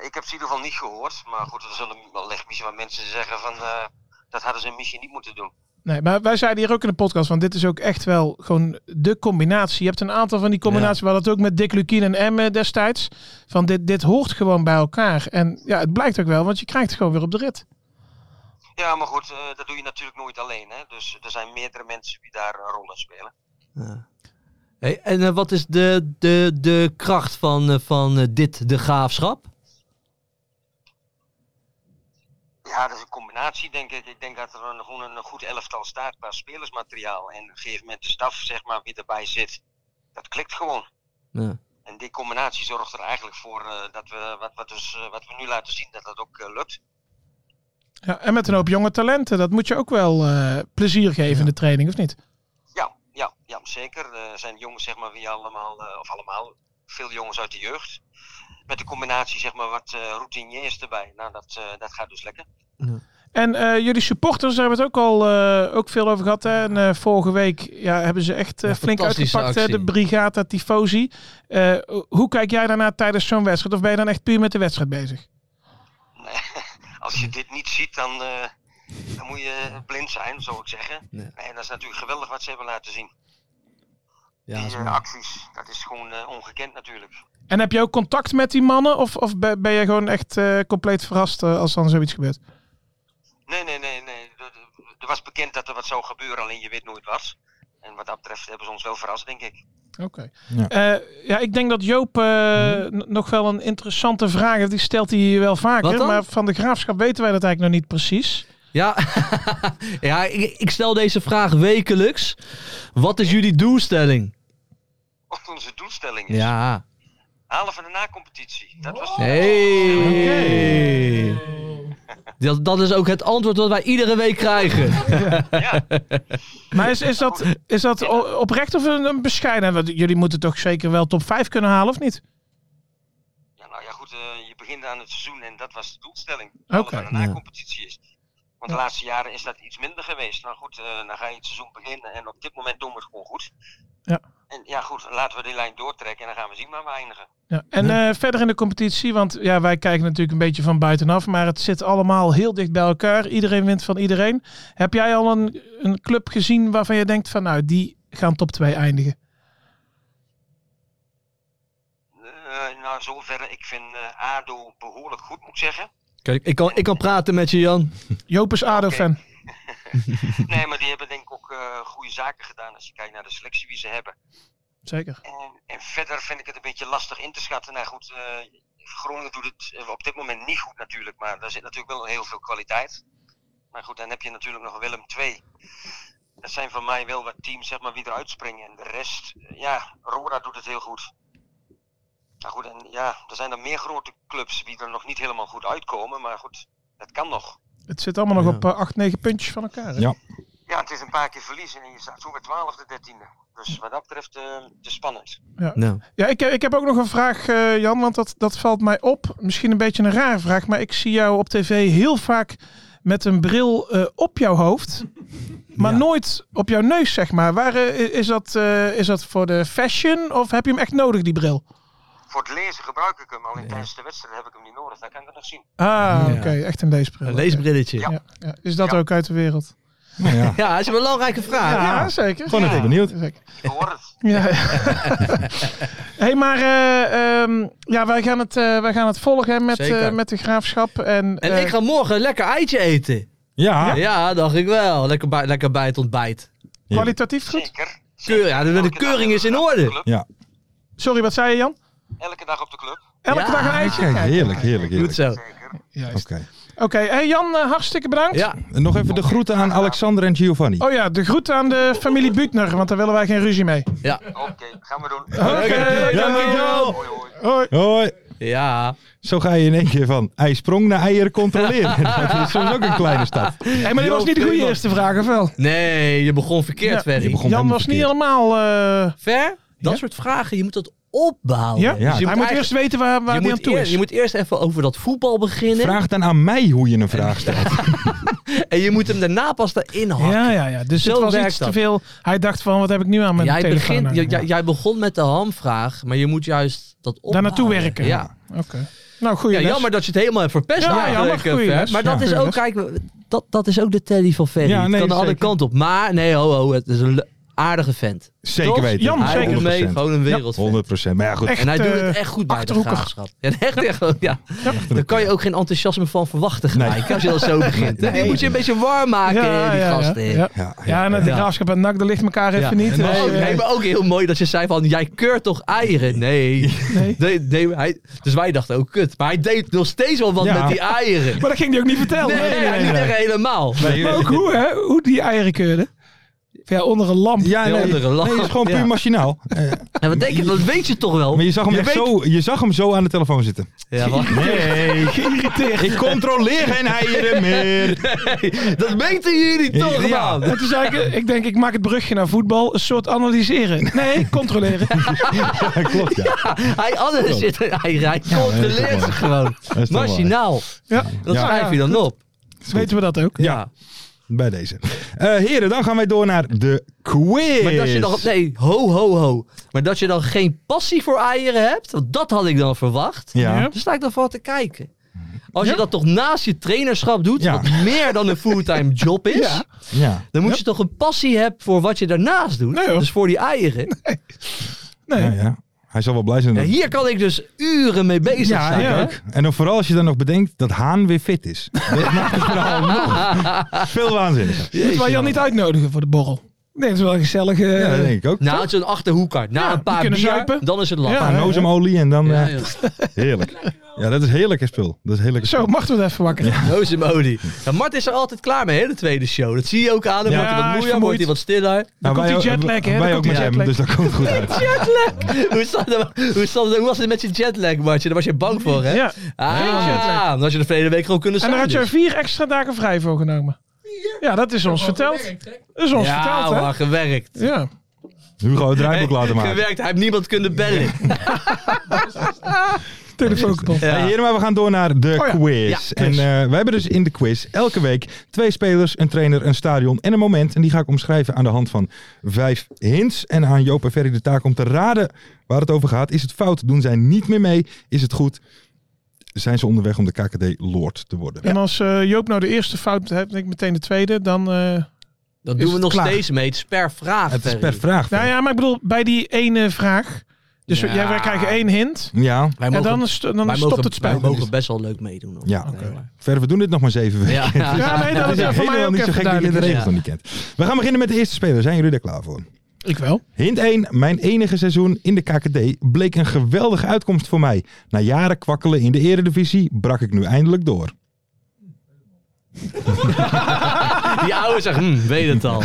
Speaker 7: Ik heb ze in ieder geval niet gehoord. Maar goed, er zullen wellicht misschien wel mensen zeggen van... eh, dat hadden ze misschien niet moeten doen.
Speaker 6: Nee, maar wij zeiden hier ook in de podcast, want dit is ook echt wel gewoon de combinatie. Je hebt een aantal van die combinaties, we hadden het ook met Dick Lukien en Emme destijds. Van dit, dit hoort gewoon bij elkaar. En ja, het blijkt ook wel, want je krijgt het gewoon weer op de rit.
Speaker 7: Ja, maar goed, eh, dat doe je natuurlijk nooit alleen. Hè? Dus er zijn meerdere mensen die daar een rol in spelen.
Speaker 5: Hey, en eh, wat is de, de, de kracht van, eh, van eh, dit, de graafschap?
Speaker 7: Ja, dat is een combinatie, denk ik. Ik denk dat er een, gewoon een goed elftal staat qua spelersmateriaal. En op een gegeven moment de staf, zeg maar, wie erbij zit. Dat klikt gewoon.
Speaker 5: Ja.
Speaker 7: En die combinatie zorgt er eigenlijk voor eh, dat we, wat, wat, dus, eh, wat we nu laten zien, dat dat ook eh, lukt.
Speaker 6: Ja, en met een hoop jonge talenten, dat moet je ook wel eh, plezier geven in de training, of niet?
Speaker 7: Ja, ja, ja zeker. Eh, Er zijn jongens, zeg maar, wie allemaal, eh, of allemaal, veel jongens uit de jeugd. Met de combinatie, zeg maar, wat eh routiniers erbij. Nou, dat, eh, dat gaat dus lekker.
Speaker 6: En eh, jullie supporters, daar hebben we het ook al eh, ook veel over gehad. Hè? En eh, vorige week ja, hebben ze echt eh,
Speaker 5: Ja,
Speaker 6: flink
Speaker 5: fantastische
Speaker 6: uitgepakt, hè, de
Speaker 5: actie.
Speaker 6: Brigata Tifosi. Eh, hoe kijk jij daarna tijdens zo'n wedstrijd? Of ben je dan echt puur met de wedstrijd bezig?
Speaker 7: Nee, (laughs) als je dit niet ziet, dan, eh, dan moet je blind zijn, zou ik zeggen.
Speaker 5: Ja.
Speaker 7: Nee, dat is natuurlijk geweldig wat ze hebben laten zien.
Speaker 5: Ja,
Speaker 7: die eh, acties, dat is gewoon eh, ongekend natuurlijk.
Speaker 6: En heb je ook contact met die mannen? Of, of ben, ben je gewoon echt eh, compleet verrast eh, als dan zoiets gebeurt?
Speaker 7: Nee, nee, nee, nee. Er- Er er was bekend dat er wat zou gebeuren, alleen je weet nooit wat. En wat dat betreft hebben ze ons wel verrast, denk ik. (laughs)
Speaker 6: Oké.
Speaker 4: Ja.
Speaker 6: Ja. ja, ik denk dat Joop eh, n- nog wel een interessante vraag heeft. Die stelt hij hier wel
Speaker 5: Wat
Speaker 6: vaker.
Speaker 5: dan?
Speaker 6: Maar van de graafschap weten wij dat eigenlijk nog niet precies.
Speaker 5: ja, (laughs) ja ik, ik stel deze vraag wekelijks. Wat is jullie doelstelling?
Speaker 7: Of onze doelstelling is.
Speaker 5: Ja.
Speaker 7: Halen van de na-competitie. Dat was
Speaker 5: Hey. Dat, dat is ook het antwoord dat wij iedere week krijgen.
Speaker 7: eh,
Speaker 5: (laughs)
Speaker 7: Ja,
Speaker 6: Maar is, is dat, is dat o- oprecht of een, een bescheiden? Want jullie moeten toch zeker wel top 5 kunnen halen, of niet?
Speaker 7: ja nou ja, goed. eh, je begint aan het seizoen en dat was de doelstelling. Halen
Speaker 6: Oké.
Speaker 7: van de na-competitie is. Want de laatste jaren is dat iets minder geweest. Nou goed, eh, dan ga je het seizoen beginnen en op dit moment doen we het gewoon goed.
Speaker 6: Ja.
Speaker 7: En ja, goed, laten we die lijn doortrekken en dan gaan we zien waar we eindigen.
Speaker 6: Ja. En eh, verder in de competitie, want ja, wij kijken natuurlijk een beetje van buitenaf, maar het zit allemaal heel dicht bij elkaar. Iedereen wint van iedereen. Heb jij al een, een club gezien waarvan je denkt van nou, die gaan top 2 eindigen?
Speaker 7: Eh, nou, zover. Ik vind eh, ADO behoorlijk goed, moet ik zeggen.
Speaker 5: Kijk, ik kan, ik kan praten met je, Jan.
Speaker 6: Joop is ADO-fan.
Speaker 7: Nee, maar die hebben denk ik ook eh, goede zaken gedaan als je kijkt naar de selectie die ze hebben.
Speaker 6: Zeker.
Speaker 7: En, en verder vind ik het een beetje lastig in te schatten. Nou goed, eh, Groningen doet het eh, op dit moment niet goed natuurlijk, maar daar zit natuurlijk wel heel veel kwaliteit. Maar goed, dan heb je natuurlijk nog Willem II. Dat zijn voor mij wel wat teams zeg maar, wie eruit springen. En de rest, eh, ja, Roda doet het heel goed. Nou goed, en ja, er zijn er meer grote clubs die er nog niet helemaal goed uitkomen, maar goed, dat kan nog.
Speaker 6: Het zit allemaal nog
Speaker 5: Ja.
Speaker 6: op 8, 9 puntjes van elkaar. hè?
Speaker 4: Ja.
Speaker 7: Ja, het is een paar keer verliezen en je staat zo bij 12e, 13e. Dus wat dat betreft eh de spannend.
Speaker 5: Nou.
Speaker 6: Ja, ik, ik heb ook nog een vraag, eh, Jan, want dat, dat valt mij op. Misschien een beetje een rare vraag, maar ik zie jou op tv heel vaak met een bril eh, op jouw hoofd, maar nooit op jouw neus, zeg maar. Waar, eh, is, dat, eh, is dat voor de fashion of heb je hem echt nodig, die bril?
Speaker 7: Voor het lezen gebruik ik hem, alleen tijdens de wedstrijd heb ik hem niet nodig. Dan kan ik het nog zien.
Speaker 6: Ah, oké, echt een leesbril.
Speaker 5: Een leesbrilletje.
Speaker 6: Ja. ja. Is dat
Speaker 7: Ja.
Speaker 6: ook uit de wereld?
Speaker 4: Nou ja.
Speaker 5: Ja, dat is een belangrijke vraag.
Speaker 6: zeker.
Speaker 4: Gewoon even benieuwd.
Speaker 6: Zeker.
Speaker 7: Je hoort het.
Speaker 6: (laughs)
Speaker 5: (laughs)
Speaker 6: Ja. hey, maar eh, ehm, ja, wij, gaan het, eh, wij gaan het volgen hè, met,
Speaker 5: Zeker.
Speaker 6: eh, met de graafschap. En,
Speaker 5: En
Speaker 6: eh,
Speaker 5: ik ga morgen een lekker eitje eten.
Speaker 4: Ja.
Speaker 5: Ja, dacht ik wel. Lekker bij, lekker bij het ontbijt.
Speaker 6: kwalitatief goed.
Speaker 7: Zeker.
Speaker 5: Keur, ja, de, de
Speaker 7: Elke dag
Speaker 5: keuring is in
Speaker 7: op de
Speaker 5: orde.
Speaker 7: club.
Speaker 4: Ja.
Speaker 6: Sorry, wat zei je, Jan?
Speaker 7: Elke dag op de club.
Speaker 6: Elke
Speaker 5: Ja.
Speaker 6: dag een eitje.
Speaker 4: Kijk, heerlijk, heerlijk,
Speaker 5: Goed
Speaker 4: heerlijk.
Speaker 5: zo.
Speaker 7: Zeker.
Speaker 6: Juist.
Speaker 4: Oké.
Speaker 6: Oké, Oké, hey Jan, eh, hartstikke bedankt.
Speaker 5: Ja,
Speaker 4: En nog even de groeten aan Alexander en Giovanni.
Speaker 6: Oh ja, de groet aan de familie Butner, want daar willen wij geen ruzie mee.
Speaker 5: ja,
Speaker 7: Oké, gaan we doen.
Speaker 6: Oké, dankjewel. Oh
Speaker 7: Hoi, hoi.
Speaker 6: Hoi.
Speaker 4: Hoi.
Speaker 5: ja.
Speaker 4: Zo ga je in één keer van ei sprong naar eieren controleren. dat is soms ook een kleine stap.
Speaker 6: Hey, maar dit was niet de goede eerste vraag, of wel?
Speaker 5: Nee, je begon verkeerd,
Speaker 6: Ja.
Speaker 5: Ferry.
Speaker 4: Je begon-
Speaker 6: Jan was niet helemaal... eh,
Speaker 5: Ver? Dat
Speaker 4: Ja.
Speaker 5: soort vragen, je moet dat opbouwen.
Speaker 6: ja?
Speaker 5: Dus je
Speaker 6: Hij moet
Speaker 5: eigenlijk-
Speaker 6: eerst weten waar, waar
Speaker 5: je
Speaker 6: hij
Speaker 5: moet,
Speaker 6: aan toe
Speaker 5: eer-
Speaker 6: is.
Speaker 5: je moet eerst even over dat voetbal beginnen.
Speaker 4: Vraag dan aan mij hoe je een vraag stelt.
Speaker 5: En je moet hem daarna pas daarin hakken.
Speaker 6: Ja, ja, ja. Dus
Speaker 5: Zo
Speaker 6: het was
Speaker 5: werkt
Speaker 6: iets
Speaker 5: dat.
Speaker 6: te veel. Hij dacht van, wat heb ik nu aan mijn
Speaker 5: Jij,
Speaker 6: telefoon?
Speaker 5: begint,
Speaker 6: hangen?
Speaker 5: j- j- jij begon met de hamvraag, maar je moet juist dat opbouwen.
Speaker 6: Daar naartoe werken.
Speaker 5: Ja.
Speaker 6: Oké. Nou, goeie
Speaker 5: Ja,
Speaker 6: les.
Speaker 5: jammer dat je het helemaal hebt verpest.
Speaker 6: Ja,
Speaker 5: eigenlijk,
Speaker 6: jammer,
Speaker 5: eh,
Speaker 6: goeie
Speaker 5: Fer.
Speaker 6: les.
Speaker 5: Maar dat
Speaker 6: Ja.
Speaker 5: is ook, kijk, dat, dat is ook de Teddy van Ferry.
Speaker 4: Ja,
Speaker 5: Het
Speaker 4: nee,
Speaker 5: kan de andere
Speaker 4: zeker.
Speaker 5: kant op. Maar nee, ho, ho, het is een le- aardige vent.
Speaker 4: Zeker
Speaker 5: Toch?
Speaker 4: weten.
Speaker 6: Jan,
Speaker 5: Hij
Speaker 6: zeker.
Speaker 5: doet mee,
Speaker 4: 100%.
Speaker 5: gewoon een wereldvent.
Speaker 4: 100%. Maar ja, goed.
Speaker 6: Echt,
Speaker 5: en hij doet het
Speaker 6: eh,
Speaker 5: echt goed bij de
Speaker 6: Achterhoekig.
Speaker 5: graafschap. Ja, echt, echt. Ja. Daar kan je ook geen enthousiasme van verwachten
Speaker 4: Nee.
Speaker 5: gelijk, als je dat zo begint. hè. Die moet je een beetje warm maken, die gasten.
Speaker 6: Ja, ja.
Speaker 4: Ja,
Speaker 6: Ja, en de
Speaker 5: Ja.
Speaker 6: graafschap en NAC, daar ligt elkaar even
Speaker 5: Ja.
Speaker 6: niet.
Speaker 5: Maar
Speaker 6: Dus,
Speaker 5: ook,
Speaker 6: eh,
Speaker 5: nee, maar ook heel mooi dat je zei van, jij keurt toch eieren? Nee.
Speaker 6: Nee.
Speaker 5: nee, nee, hij, dus wij dachten ook, kut. Maar hij deed nog steeds wel wat
Speaker 4: Ja.
Speaker 5: met die eieren.
Speaker 6: Maar dat ging hij ook niet vertellen.
Speaker 5: Nee, ja, niet echt helemaal.
Speaker 4: Nee,
Speaker 6: Maar ook hoe, hè? Hoe die eieren keurden. Ja, onder een lamp.
Speaker 4: Ja,
Speaker 5: Die
Speaker 4: nee, nee,
Speaker 5: andere lachen.
Speaker 4: het is gewoon puur
Speaker 5: Ja.
Speaker 4: machinaal. Eh,
Speaker 5: Ja, wat denk je? Dat weet je toch wel?
Speaker 4: maar je zag, hem
Speaker 5: Je
Speaker 4: echt
Speaker 5: weet-
Speaker 4: zo, je zag hem zo aan de telefoon zitten.
Speaker 5: Ja, wat-
Speaker 4: Nee,
Speaker 5: (laughs)
Speaker 4: geïrriteerd. Ik controleer geen eieren meer.
Speaker 5: dat weten jullie toch,
Speaker 4: Ja.
Speaker 5: man?
Speaker 6: En toen zei ik, ik denk, ik maak het brugje naar voetbal. Een soort analyseren. Nee, controleren.
Speaker 4: (laughs) Ja, klopt, ja.
Speaker 5: Hij, anders zit, hij, hij
Speaker 4: dat
Speaker 5: controleert
Speaker 4: is
Speaker 5: ze gewoon.
Speaker 4: Dat is toch waar.
Speaker 5: Machinaal.
Speaker 6: Ja,
Speaker 5: Dat
Speaker 6: Ja.
Speaker 5: schrijf je dan op.
Speaker 6: weten we dat ook.
Speaker 5: Ja.
Speaker 4: Bij deze. Eh, heren, dan gaan wij door naar de quiz.
Speaker 5: Maar dat je dan... Nee, ho, ho, ho. Maar dat je dan geen passie voor eieren hebt, want dat had ik dan verwacht.
Speaker 4: Ja.
Speaker 5: Dus sta ik dan voor te kijken. Als je
Speaker 6: Ja.
Speaker 5: dat toch naast je trainerschap doet,
Speaker 4: Ja.
Speaker 5: wat meer dan een
Speaker 6: (laughs)
Speaker 5: fulltime job is,
Speaker 6: Ja.
Speaker 4: ja.
Speaker 5: dan moet je toch een passie hebben voor wat je daarnaast doet.
Speaker 6: Nee, hoor.
Speaker 5: dus voor die eieren.
Speaker 6: Nee.
Speaker 4: Ja, ja. Hij zal wel blij zijn.
Speaker 5: Ja,
Speaker 4: dat-
Speaker 5: hier kan ik dus uren mee bezig zijn.
Speaker 6: ja.
Speaker 5: hè?
Speaker 4: ook. (laughs) En dan vooral als je dan nog bedenkt dat Haan weer fit is. nou Dat maakt het verhaal nog veel waanzinniger.
Speaker 6: Moeten wij Jan niet uitnodigen voor de borrel? Nee, dat is wel een gezellige...
Speaker 4: Ja, dat denk ik ook.
Speaker 5: Nou, het is een achterhoekkaart. Na
Speaker 6: Ja,
Speaker 5: een
Speaker 6: die
Speaker 5: paar bier,
Speaker 6: kunnen zuipen.
Speaker 5: dan is het lach.
Speaker 6: Ja.
Speaker 4: Een ozemolie en dan...
Speaker 5: Ja,
Speaker 4: eh,
Speaker 5: joh.
Speaker 4: heerlijk. Ja, dat is heerlijk spul. Dat is heerlijk Nou,
Speaker 6: Zo, mag het even wakker.
Speaker 5: Jozef Odi. Ja, Mart is er altijd klaar mee, hè, de tweede show. Dat zie je ook aan hem.
Speaker 4: Ja,
Speaker 5: wordt hij
Speaker 6: hij
Speaker 5: wat
Speaker 6: is
Speaker 5: moeier, wordt hij wat stiller. (laughs)
Speaker 6: Dan komt die jetlag, hè? Dan
Speaker 4: Wij
Speaker 6: komt
Speaker 4: ook
Speaker 6: die
Speaker 4: met hem,
Speaker 6: jetlag.
Speaker 4: dus dat komt goed uit.
Speaker 5: hoe, staat het, hoe, staat het- hoe was het met je jetlag, Martje? Daar was je bang voor, hè?
Speaker 6: Ja.
Speaker 5: Ah,
Speaker 6: jetlag.
Speaker 5: dan had je de verleden week gewoon kunnen
Speaker 6: En
Speaker 5: zijn.
Speaker 6: daar had je
Speaker 5: dus.
Speaker 6: vier extra dagen vrij voor genomen. Ja, dat is ons verteld. Dat is ons
Speaker 5: dus. ja,
Speaker 6: verteld, hè?
Speaker 5: man, gewerkt.
Speaker 6: Ja.
Speaker 4: Hugo het draaiboek laten maken.
Speaker 5: Gewerkt, hij heeft niemand kunnen bellen.
Speaker 6: Telefoon kapot.
Speaker 5: Ja.
Speaker 4: Hey, heren, maar we gaan door naar de
Speaker 6: Oh ja.
Speaker 4: quiz.
Speaker 6: Ja,
Speaker 4: en
Speaker 6: quiz.
Speaker 4: eh, wij hebben dus in de quiz elke week twee spelers, een trainer, een stadion en een moment. En die ga ik omschrijven aan de hand van vijf hints. En aan Joop en Ferry de taak om te raden waar het over gaat. Is het fout? Doen zij niet meer mee? Is het goed? Zijn ze onderweg om de KKD-lord te worden?
Speaker 6: En als eh, Joop nou de eerste fout hebt en ik meteen de tweede, dan... eh,
Speaker 5: Dat
Speaker 6: Is
Speaker 5: doen we
Speaker 6: het
Speaker 5: nog
Speaker 6: klaar?
Speaker 5: steeds mee. Het is per vraag.
Speaker 4: het is
Speaker 5: Ferry.
Speaker 4: per vraag.
Speaker 6: Nou ja, maar ik bedoel, bij die ene vraag. Dus
Speaker 5: Ja.
Speaker 6: jij, wij krijgen één hint.
Speaker 4: ja.
Speaker 5: Wij
Speaker 6: En
Speaker 5: mogen-
Speaker 6: dan, is- dan
Speaker 5: wij
Speaker 6: stopt
Speaker 5: mogen-
Speaker 6: het spel.
Speaker 5: Wij mogen best wel leuk meedoen. hoor.
Speaker 4: Ja. Ver, we doen dit nog maar zeven weken.
Speaker 5: Ja. Ja. (laughs)
Speaker 6: Ja, nee, dat
Speaker 4: Het
Speaker 6: is
Speaker 4: is
Speaker 6: voor mij
Speaker 4: helemaal
Speaker 6: ook
Speaker 4: niet zo
Speaker 6: even
Speaker 4: gek dat je de
Speaker 6: duidelijk.
Speaker 4: regels
Speaker 5: Ja.
Speaker 4: nog niet kent. We gaan beginnen met de eerste speler. Zijn jullie er klaar voor?
Speaker 6: Ik wel.
Speaker 4: Hint 1. Mijn enige seizoen in de KKD bleek een geweldige uitkomst voor mij. Na jaren kwakkelen in de eredivisie brak ik nu
Speaker 6: (laughs)
Speaker 4: eindelijk door.
Speaker 5: Die oude zegt, hm, weet het al.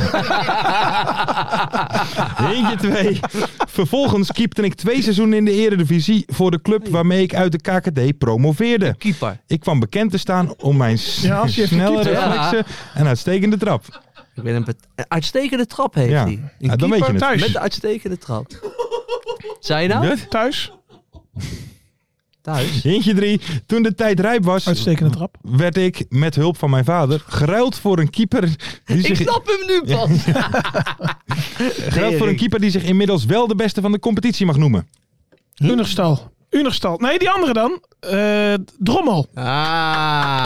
Speaker 4: Hintje 2. Vervolgens keepte ik twee seizoenen in de eredivisie voor de club waarmee ik uit de KKD promoveerde.
Speaker 5: Keeper.
Speaker 4: Ik kwam bekend te staan om mijn s-
Speaker 6: Ja, als je even
Speaker 4: snelle
Speaker 6: keept,
Speaker 5: hè?
Speaker 4: reflexen en uitstekende trap.
Speaker 5: Ik ben een, bet- een uitstekende trap heeft
Speaker 4: Ja.
Speaker 5: hij.
Speaker 4: Ja,
Speaker 5: Een
Speaker 4: dan
Speaker 5: keeper
Speaker 4: weet je het.
Speaker 6: thuis.
Speaker 5: Met de uitstekende trap. Zijn je nou?
Speaker 4: Wat?
Speaker 6: Thuis.
Speaker 5: Thuis.
Speaker 4: Hintje 3. Toen de tijd rijp was,
Speaker 6: Uitstekende trap.
Speaker 4: werd ik met hulp van mijn vader geruild voor een keeper die
Speaker 5: Ik
Speaker 4: zich
Speaker 5: snap hem nu pas.
Speaker 4: Geld voor een keeper die zich inmiddels wel de beste van de competitie mag noemen.
Speaker 6: Unerstal. Unerstal. Nee, die andere dan. Eh, Drommel.
Speaker 5: (laughs)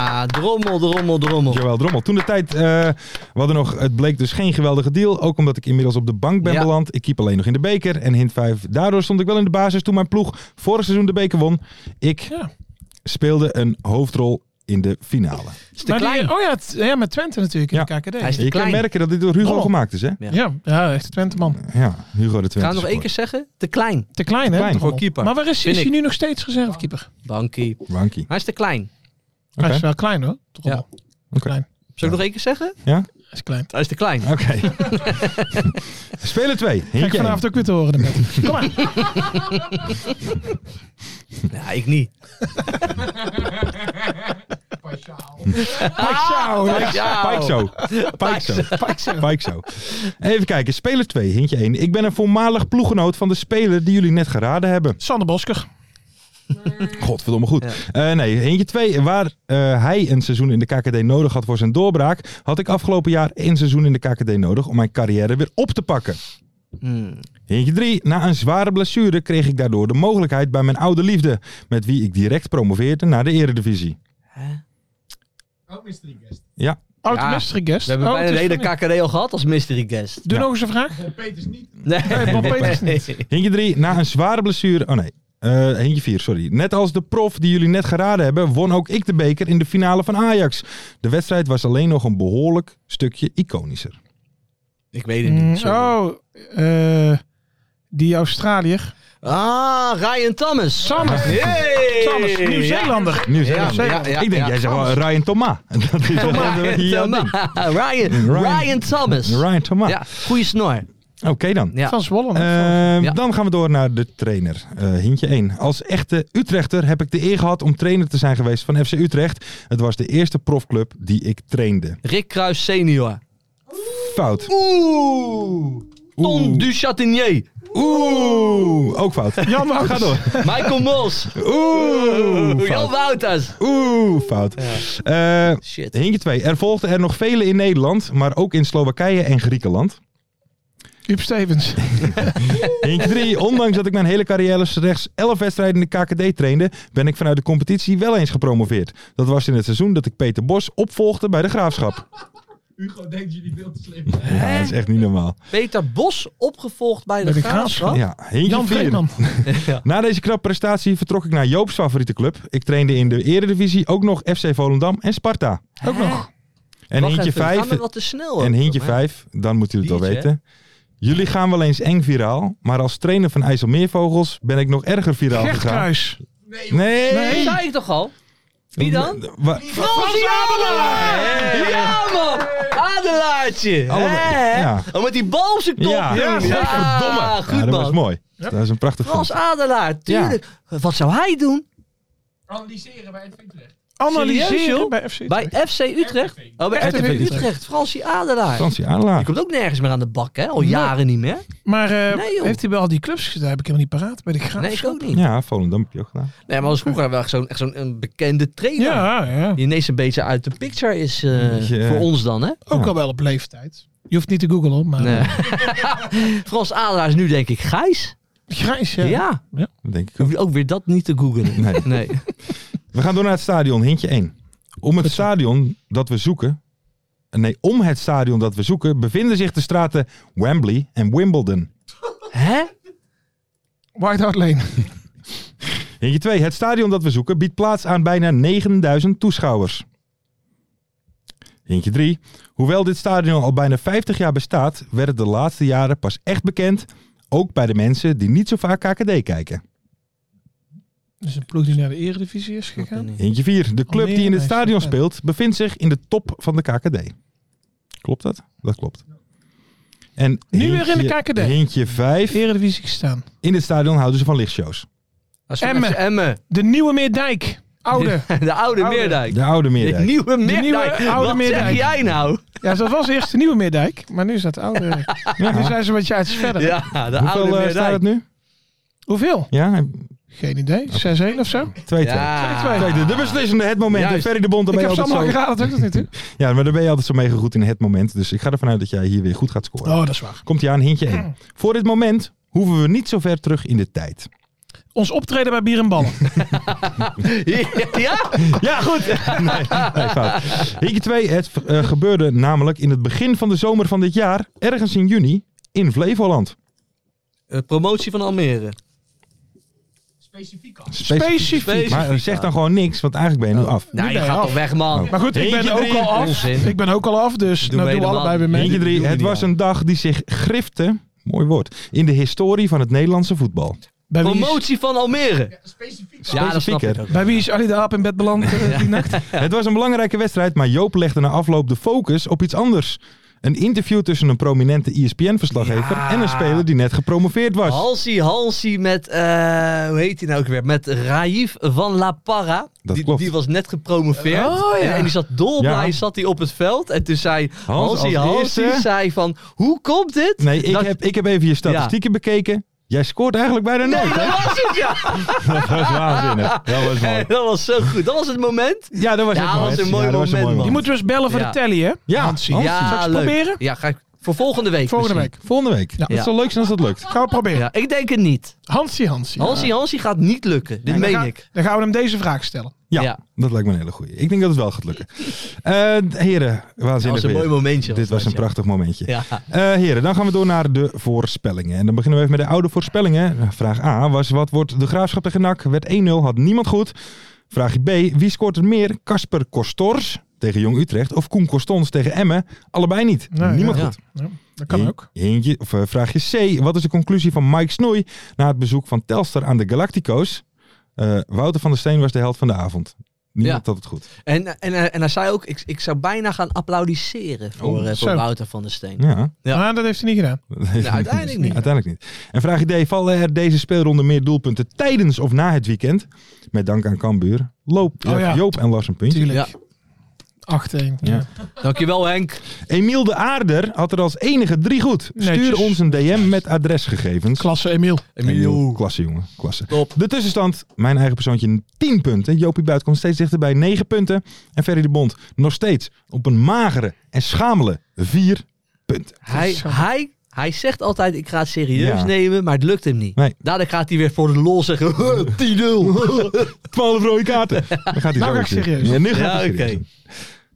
Speaker 5: Ah, drommel, drommel, drommel.
Speaker 4: Joël Drommel. Toen de tijd, eh, we hadden nog, het bleek dus geen geweldige deal. Ook omdat ik inmiddels op de bank ben
Speaker 5: Ja.
Speaker 4: beland. Ik keep alleen nog in de beker. En hint 5, daardoor stond ik wel in de basis toen mijn ploeg vorig seizoen de beker won. Ik
Speaker 6: Ja.
Speaker 4: speelde een hoofdrol in de finale.
Speaker 5: Is te
Speaker 6: Maar die-
Speaker 5: klein.
Speaker 6: oh ja, het- ja, met Twente natuurlijk in
Speaker 4: Ja.
Speaker 6: de KKD.
Speaker 5: Hij is te
Speaker 4: Je kan
Speaker 5: klein. Oh.
Speaker 4: merken dat dit door Hugo
Speaker 6: Drommel.
Speaker 4: gemaakt is, hè?
Speaker 5: Ja.
Speaker 6: Ja, ja, echt Twente man.
Speaker 4: Ja, Hugo de
Speaker 5: Ga
Speaker 4: Twente.
Speaker 5: het nog één keer zeggen? Te klein.
Speaker 6: Te klein hè?
Speaker 4: Klein.
Speaker 6: Drommel.
Speaker 5: Voor keeper.
Speaker 6: Maar waar is,
Speaker 5: Vind
Speaker 6: is hij
Speaker 5: ik.
Speaker 6: nu nog steeds reservekeeper?
Speaker 5: Bankie.
Speaker 4: Wankie.
Speaker 5: Hij is te klein.
Speaker 6: Hij
Speaker 4: Oké.
Speaker 6: is wel klein hoor. Toch
Speaker 5: Ja.
Speaker 6: wel.
Speaker 4: Oké.
Speaker 6: Klein.
Speaker 5: Zal ik nog één keer zeggen?
Speaker 6: Hij is klein.
Speaker 5: Hij is te klein.
Speaker 4: Oké. Speler 2.
Speaker 6: Kijk vanavond ook weer te horen. Met. Kom maar.
Speaker 5: Ja, ik niet.
Speaker 4: Pike zo. Ah, Pike zo. Pike zo. Pike zo. Even kijken. Speler 2. Hintje 1. Ik ben een voormalig ploeggenoot van de speler die jullie net geraden hebben.
Speaker 6: Sander Bosker.
Speaker 4: Godverdomme goed. Eh, nee, hintje 2. Waar eh, hij een seizoen in de KKD nodig had voor zijn doorbraak, had ik afgelopen jaar één seizoen in de KKD nodig om mijn carrière weer op te pakken.
Speaker 5: Hmm.
Speaker 4: Hintje 3. Na een zware blessure kreeg ik daardoor de mogelijkheid bij mijn oude liefde, met wie ik direct promoveerde naar de Eredivisie. Ja.
Speaker 6: Oud
Speaker 5: Ja.
Speaker 6: mystery guest.
Speaker 5: We hebben
Speaker 6: Oh,
Speaker 5: bijna
Speaker 6: het
Speaker 5: de
Speaker 6: is
Speaker 5: hele
Speaker 6: van niet.
Speaker 5: KKD al gehad als mystery guest.
Speaker 6: Doe
Speaker 4: Ja.
Speaker 6: nog eens een vraag.
Speaker 5: Nee,
Speaker 6: Bob Peters
Speaker 5: niet.
Speaker 4: Hintje 3. Na een zware blessure. Oh nee. Eh hintje 4, sorry. Net als de prof die jullie net geraden hebben, won ook ik de beker in de finale van Ajax. De wedstrijd was alleen nog een behoorlijk stukje iconischer.
Speaker 5: Ik weet het niet. sorry.
Speaker 6: Oh, eh, die Australiër.
Speaker 5: Ah, Ryan Thomas.
Speaker 6: Thomas.
Speaker 5: Hey.
Speaker 6: Thomas, Nieuw-Zeelander.
Speaker 4: Nieuw-Zeeland.
Speaker 5: Ja, ja, ja,
Speaker 4: ik denk,
Speaker 5: ja.
Speaker 4: jij zegt wel Ryan Thomas. Dat
Speaker 5: (laughs)
Speaker 4: is wel
Speaker 5: Ryan,
Speaker 4: gewoon jouw ding.
Speaker 5: Thomas. (laughs) Ryan,
Speaker 4: Ryan-
Speaker 5: Ryan Thomas.
Speaker 4: Ryan Thomas.
Speaker 5: Ja, goede snor.
Speaker 4: Oké dan.
Speaker 5: Ja.
Speaker 6: Van Zwolle.
Speaker 4: Ehm,
Speaker 5: Eh, Ja.
Speaker 4: Dan gaan we door naar de trainer. Eh hintje 1. Als echte Utrechter heb ik de eer gehad om trainer te zijn geweest van FC Utrecht. Het was de eerste profclub die ik trainde.
Speaker 5: Rick Kruis senior.
Speaker 4: Fout.
Speaker 5: Oeh. Ton du Chatinier.
Speaker 4: Oeh, ook fout.
Speaker 6: Jan Wouters.
Speaker 4: Ga door.
Speaker 5: (laughs) Michael Mos.
Speaker 4: Oeh,
Speaker 5: Jan
Speaker 4: fout.
Speaker 5: Wouters.
Speaker 4: Oeh, fout. Eh,
Speaker 5: Shit.
Speaker 4: Hintje 2. Er volgden er nog vele in Nederland, maar ook in Slowakije en Griekenland.
Speaker 6: Huub
Speaker 5: (laughs)
Speaker 6: Stevens.
Speaker 4: Hintje 3. Ondanks dat ik mijn hele carrière slechts 11 wedstrijden in de KKD trainde, ben ik vanuit de competitie wel eens gepromoveerd. Dat was in het seizoen dat ik Peter Bos opvolgde bij de Graafschap. Hugo denkt jullie veel te slim. Ja, dat is echt niet normaal.
Speaker 5: Peter Bos opgevolgd bij de,
Speaker 6: Bij de
Speaker 5: Graafschap.
Speaker 4: Ja, hintje
Speaker 6: Jan
Speaker 4: 4.
Speaker 6: Vreeman.
Speaker 4: Na deze knappe prestatie vertrok ik naar Joop's favoriete club. Ik trainde in de Eredivisie ook nog FC Volendam en Sparta.
Speaker 6: Ook nog.
Speaker 4: En
Speaker 5: Wacht
Speaker 4: hintje
Speaker 5: even, we gaan
Speaker 4: 5.
Speaker 5: wel wat te snel.
Speaker 4: En
Speaker 5: ook,
Speaker 4: hintje
Speaker 5: hè?
Speaker 4: 5, dan moet u het wel
Speaker 5: Biertje,
Speaker 4: weten. Jullie gaan wel eens eng viraal, maar als trainer van IJsselmeervogels ben ik nog erger viraal
Speaker 6: Gert
Speaker 4: gegaan.
Speaker 6: Kruis.
Speaker 4: Nee!
Speaker 5: Dat zei ik toch al? Wie dan?
Speaker 4: Wa-
Speaker 5: Frans Adelaar! Ja, man! Adelaartje!
Speaker 4: Allemaal-
Speaker 5: Hè?
Speaker 4: ja.
Speaker 5: Oh, met die bal op zijn kop.
Speaker 4: Ja,
Speaker 5: jongen.
Speaker 4: ja, godverdomme.
Speaker 5: Ja,
Speaker 4: Ja,
Speaker 5: goed,
Speaker 4: dat was
Speaker 5: man.
Speaker 4: mooi. Dat is een prachtig
Speaker 5: Frans
Speaker 4: film.
Speaker 5: Adelaar, tuurlijk. Wat zou hij doen? Serieus,
Speaker 6: Analyseren
Speaker 5: joh?
Speaker 6: bij FC
Speaker 5: Bij FC Utrecht? Oh, bij
Speaker 6: RTV
Speaker 5: RTV Utrecht.
Speaker 6: Utrecht.
Speaker 5: Fransie Adelaar.
Speaker 4: Fransie Adelaar.
Speaker 5: Die komt ook nergens meer aan de bak, hè? Al jaren niet meer.
Speaker 6: Maar eh,
Speaker 5: Nee, joh.
Speaker 6: heeft hij wel al die clubs gedaan? Heb ik helemaal niet paraat. Bij de
Speaker 5: Nee, ik
Speaker 6: Graafschap.
Speaker 5: ook niet.
Speaker 4: Ja, Volendam heb je ook gedaan.
Speaker 5: Nee, maar was vroeger wel echt zo'n echt zo'n een bekende trainer.
Speaker 6: ja, ja.
Speaker 5: Die ineens een beetje uit de picture is eh,
Speaker 4: Ja.
Speaker 5: voor ons dan, hè?
Speaker 6: Ook
Speaker 4: Ja.
Speaker 6: al wel op leeftijd. Je hoeft niet te googlen, maar eh,
Speaker 5: Nee. (laughs) Frans Adelaar is nu denk ik Gijs.
Speaker 6: grijs, ja.
Speaker 5: Ja.
Speaker 4: Dat denk ik ook.
Speaker 5: Hoef je ook weer dat niet te googlen.
Speaker 4: Nee.
Speaker 5: Nee.
Speaker 4: We gaan door naar het stadion, hintje 1. Om het stadion dat we zoeken... Nee, om het stadion dat we zoeken bevinden zich de straten Wembley en Wimbledon.
Speaker 5: Hè?
Speaker 6: White Hart Lane.
Speaker 4: Hintje 2. Het stadion dat we zoeken biedt plaats aan bijna 9000 toeschouwers. Hintje 3. Hoewel dit stadion al bijna 50 jaar bestaat, werd het de laatste jaren pas echt bekend. Ook bij de mensen die niet zo vaak KKD kijken.
Speaker 6: Dus een ploeg die naar de Eredivisie is gegaan.
Speaker 4: Hintje 4. De
Speaker 6: Oh,
Speaker 4: club die in het
Speaker 6: Almere,
Speaker 4: stadion
Speaker 6: is dat vet.
Speaker 4: speelt bevindt zich in de top van de KKD. Klopt dat? Dat klopt. En
Speaker 6: Nu weer in de
Speaker 4: hintje-
Speaker 6: KKD.
Speaker 4: Hintje 5.
Speaker 6: Eredivisie gestaan.
Speaker 4: In het stadion houden ze van lichtshows.
Speaker 5: Als
Speaker 6: Emmen.
Speaker 5: Emmen.
Speaker 6: De Nieuwe Meerdijk. Oude.
Speaker 5: (laughs) De oude Meerdijk.
Speaker 4: De oude
Speaker 5: De
Speaker 4: meerdijk.
Speaker 5: nieuwe Meerdijk.
Speaker 6: nieuwe oude
Speaker 5: Wat zeg
Speaker 6: Meerdijk.
Speaker 5: jij nou?
Speaker 6: Ja, dat was eerst de Nieuwe Meerdijk. Maar nu is dat de
Speaker 4: (laughs)
Speaker 6: Oude. Nu zijn ze wat jaartjes verder.
Speaker 5: Ja, de oude
Speaker 4: Hoeveel Ah, eh, staat
Speaker 5: Meerdijk.
Speaker 4: het nu?
Speaker 6: Hoeveel?
Speaker 4: Ja, 2-2.
Speaker 6: Geen idee. 6-1 of zo?
Speaker 5: Ja.
Speaker 4: Kijk, de, de beslissende het moment.
Speaker 5: Juist.
Speaker 4: Ferry de Bond, daar
Speaker 6: Ik
Speaker 4: ben, je
Speaker 6: heb ze
Speaker 4: altijd
Speaker 6: allemaal
Speaker 4: zo,
Speaker 6: geraden, dat niet.
Speaker 4: ja, maar daar ben je altijd zo mega goed in het moment. Dus ik ga ervan uit dat jij hier weer goed gaat scoren.
Speaker 6: Oh, dat is waar.
Speaker 4: Komt hij aan, hintje
Speaker 6: (clears throat)
Speaker 4: 1. Voor dit moment hoeven we niet zo ver terug in de tijd.
Speaker 6: Ons optreden bij Bier en Ballen. (laughs)
Speaker 5: Ja?
Speaker 4: Ja, goed. (laughs) nee, nee, fout. Hintje 2. Het eh, gebeurde namelijk in het begin van de zomer van dit jaar, ergens in juni, in Flevoland.
Speaker 5: Eh, Promotie van Almere.
Speaker 4: Specifiek.
Speaker 6: Specifiek. Oh.
Speaker 4: Maar eh, zeg dan gewoon niks, want eigenlijk ben je nu af.
Speaker 5: Nou, je
Speaker 6: ben je
Speaker 5: gaat
Speaker 6: af.
Speaker 5: toch weg, man.
Speaker 6: Maar goed, ik ben
Speaker 4: Eentje
Speaker 6: ook
Speaker 4: drie.
Speaker 6: al af.
Speaker 5: Onzin.
Speaker 6: Ik ben ook al af, dus
Speaker 5: Doe
Speaker 6: nou
Speaker 5: mee
Speaker 6: doen we
Speaker 5: de
Speaker 6: allebei
Speaker 5: man.
Speaker 6: weer mee.
Speaker 4: Hintje 3.
Speaker 5: Doe
Speaker 4: Het
Speaker 5: niet
Speaker 4: was
Speaker 5: aan.
Speaker 4: een dag die zich grifte, mooi woord, in de historie van het Nederlandse voetbal.
Speaker 6: Bij wie, is,
Speaker 5: Promotie van Almere. Ja, dat snap ik
Speaker 4: Specifieker.
Speaker 5: ook.
Speaker 6: bij wie is Ali de Aap in bed beland eh, die nacht?
Speaker 4: Het was een belangrijke wedstrijd, maar Joop legde na afloop de focus op iets anders. Een interview tussen een prominente E ESPN-verslaggever
Speaker 5: Ja.
Speaker 4: en een speler die net gepromoveerd was.
Speaker 5: Halsey, Halsey met, eh, hoe heet hij nou ook weer? Met Raif van La Parra.
Speaker 4: Dat
Speaker 5: die,
Speaker 4: klopt.
Speaker 5: die was net gepromoveerd.
Speaker 6: Oh, ja.
Speaker 5: en, en die zat dolblij,
Speaker 4: Ja.
Speaker 5: zat hij op het veld. En toen zei Halsey,
Speaker 4: als
Speaker 5: Halsey
Speaker 4: eerste.
Speaker 5: zei van, hoe komt dit?
Speaker 4: Nee, ik,
Speaker 5: Dat-
Speaker 4: heb, ik heb even je statistieken bekeken. Jij scoort eigenlijk bijna
Speaker 5: Nee,
Speaker 4: nooit.
Speaker 5: dat
Speaker 4: hè?
Speaker 5: was het, (laughs) ja.
Speaker 4: (laughs) Dat was waanzinnig. Dat was
Speaker 5: (laughs)
Speaker 4: mooi.
Speaker 5: dat was zo goed. Dat was het moment.
Speaker 4: Ja, dat was,
Speaker 5: Ja,
Speaker 4: echt
Speaker 5: dat
Speaker 4: mooi.
Speaker 5: was een mooi
Speaker 4: Ja, dat was
Speaker 5: moment, man.
Speaker 6: Die moeten we eens bellen voor
Speaker 5: Ja.
Speaker 6: de telly, hè?
Speaker 4: Ja,
Speaker 6: Hansie.
Speaker 4: Hansie.
Speaker 5: Ja,
Speaker 6: Zal ik
Speaker 5: leuk.
Speaker 6: het proberen?
Speaker 5: Ja, ga ik voor volgende week.
Speaker 6: Volgende
Speaker 5: misschien.
Speaker 6: week.
Speaker 4: Volgende week.
Speaker 6: Ja.
Speaker 4: Het zou leuk zijn als dat lukt.
Speaker 6: Gaan we proberen.
Speaker 5: Ja, ik denk het niet.
Speaker 6: Hansie, Hansie.
Speaker 5: Hansie, Hansie gaat niet lukken. Dit
Speaker 6: En dan
Speaker 5: meen
Speaker 6: ga-
Speaker 5: ik.
Speaker 6: Dan gaan we hem deze vraag stellen.
Speaker 4: Ja,
Speaker 5: Ja.
Speaker 4: dat lijkt me een hele goeie. Ik denk dat het wel gaat lukken. Eh, heren,
Speaker 5: Dat
Speaker 4: waanzinnig
Speaker 5: was een
Speaker 4: weer.
Speaker 5: mooi momentje.
Speaker 4: Dit was een
Speaker 5: dat,
Speaker 4: prachtig momentje.
Speaker 5: ja. Ja.
Speaker 4: Eh, heren, dan gaan we door naar de voorspellingen. En dan beginnen we even met de oude voorspellingen. Vraag A was, wat wordt de Graafschap tegen NAC? Werd 1-0, had niemand goed. Vraag B, wie scoort er meer? Kasper Kostors tegen Jong Utrecht of Koen Kostons tegen Emmen? Allebei niet.
Speaker 6: Nee,
Speaker 4: niemand
Speaker 6: ja.
Speaker 4: goed.
Speaker 6: Ja, dat kan
Speaker 4: E-
Speaker 6: ook.
Speaker 4: Eentje, of eh, vraagje C, wat is de conclusie van Mike Snoei na het bezoek van Telstar aan de Galactico's? Eh, Wouter van der Steen was de held van de avond. Niemand had het goed.
Speaker 5: En, en, eh, en hij zei ook, ik, ik zou bijna gaan
Speaker 4: Oh,
Speaker 5: applaudisseren voor, eh, voor
Speaker 6: zo.
Speaker 5: Wouter van der Steen.
Speaker 4: Ja.
Speaker 5: Ja.
Speaker 6: Maar dat heeft hij niet gedaan.
Speaker 5: Nou, uiteindelijk niet.
Speaker 4: Uiteindelijk niet. En vraag D. Vallen er deze speelronde meer doelpunten tijdens of na het weekend? Met dank aan Cambuur. Loop,
Speaker 6: Oh ja.
Speaker 4: Joop en Lars een puntje.
Speaker 6: Tuurlijk. 8-1.
Speaker 4: Ja.
Speaker 6: Ja.
Speaker 5: Dankjewel Henk.
Speaker 4: Emiel de Aarder had er als enige drie goed. Stuur
Speaker 6: Netjes.
Speaker 4: ons een DM met adresgegevens.
Speaker 6: Klasse Emiel.
Speaker 4: Emiel. Klasse jongen, klasse.
Speaker 5: Top.
Speaker 4: De tussenstand, mijn eigen persoontje, 10 punten. Jopie Buit komt steeds dichterbij, 9 punten. En Ferry de Bond nog steeds op een magere en schamele 4 punten.
Speaker 5: Hij,
Speaker 6: Zo.
Speaker 5: hij, hij zegt altijd, ik ga het serieus
Speaker 4: Ja.
Speaker 5: nemen, maar het lukt hem niet.
Speaker 4: Nee.
Speaker 5: Daarna gaat hij weer voor de lol zeggen, 10-0.
Speaker 4: (laughs) 12 rode
Speaker 5: (laughs)
Speaker 4: kaarten. Dan gaat hij
Speaker 6: Nou ga
Speaker 4: zo
Speaker 6: ik
Speaker 4: weer
Speaker 6: serieus.
Speaker 4: Ja, nu gaat
Speaker 5: Ja,
Speaker 4: hij
Speaker 5: oké.
Speaker 4: serieus.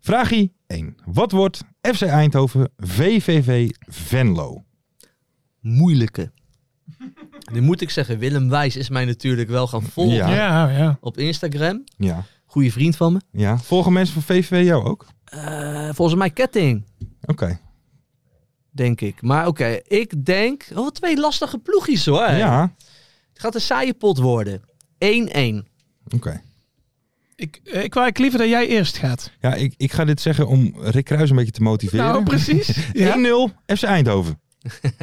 Speaker 4: Vraagie 1. Wat wordt FC Eindhoven VVV Venlo?
Speaker 5: (laughs) Moeilijke. Nu moet ik zeggen, Willem Wijs is mij natuurlijk wel gaan volgen
Speaker 4: Ja.
Speaker 6: Ja, ja.
Speaker 5: op Instagram.
Speaker 4: Ja.
Speaker 5: Goeie vriend van me.
Speaker 4: ja. Volgen mensen van VVV jou ook?
Speaker 5: Eh, volgens mij Ketting,
Speaker 4: Oké.
Speaker 5: denk ik. Maar oké, ik denk... Oh, twee lastige ploegjes hoor.
Speaker 4: Ja.
Speaker 5: Het gaat een saaie pot worden. 1-1.
Speaker 4: Oké.
Speaker 6: Ik, eh, ik wil eigenlijk liever dat jij eerst gaat.
Speaker 4: Ja, ik, ik ga dit zeggen om Rick Kruis een beetje te motiveren.
Speaker 6: Nou,
Speaker 4: (laughs)
Speaker 6: precies. Ja.
Speaker 4: 1-0 FC Eindhoven.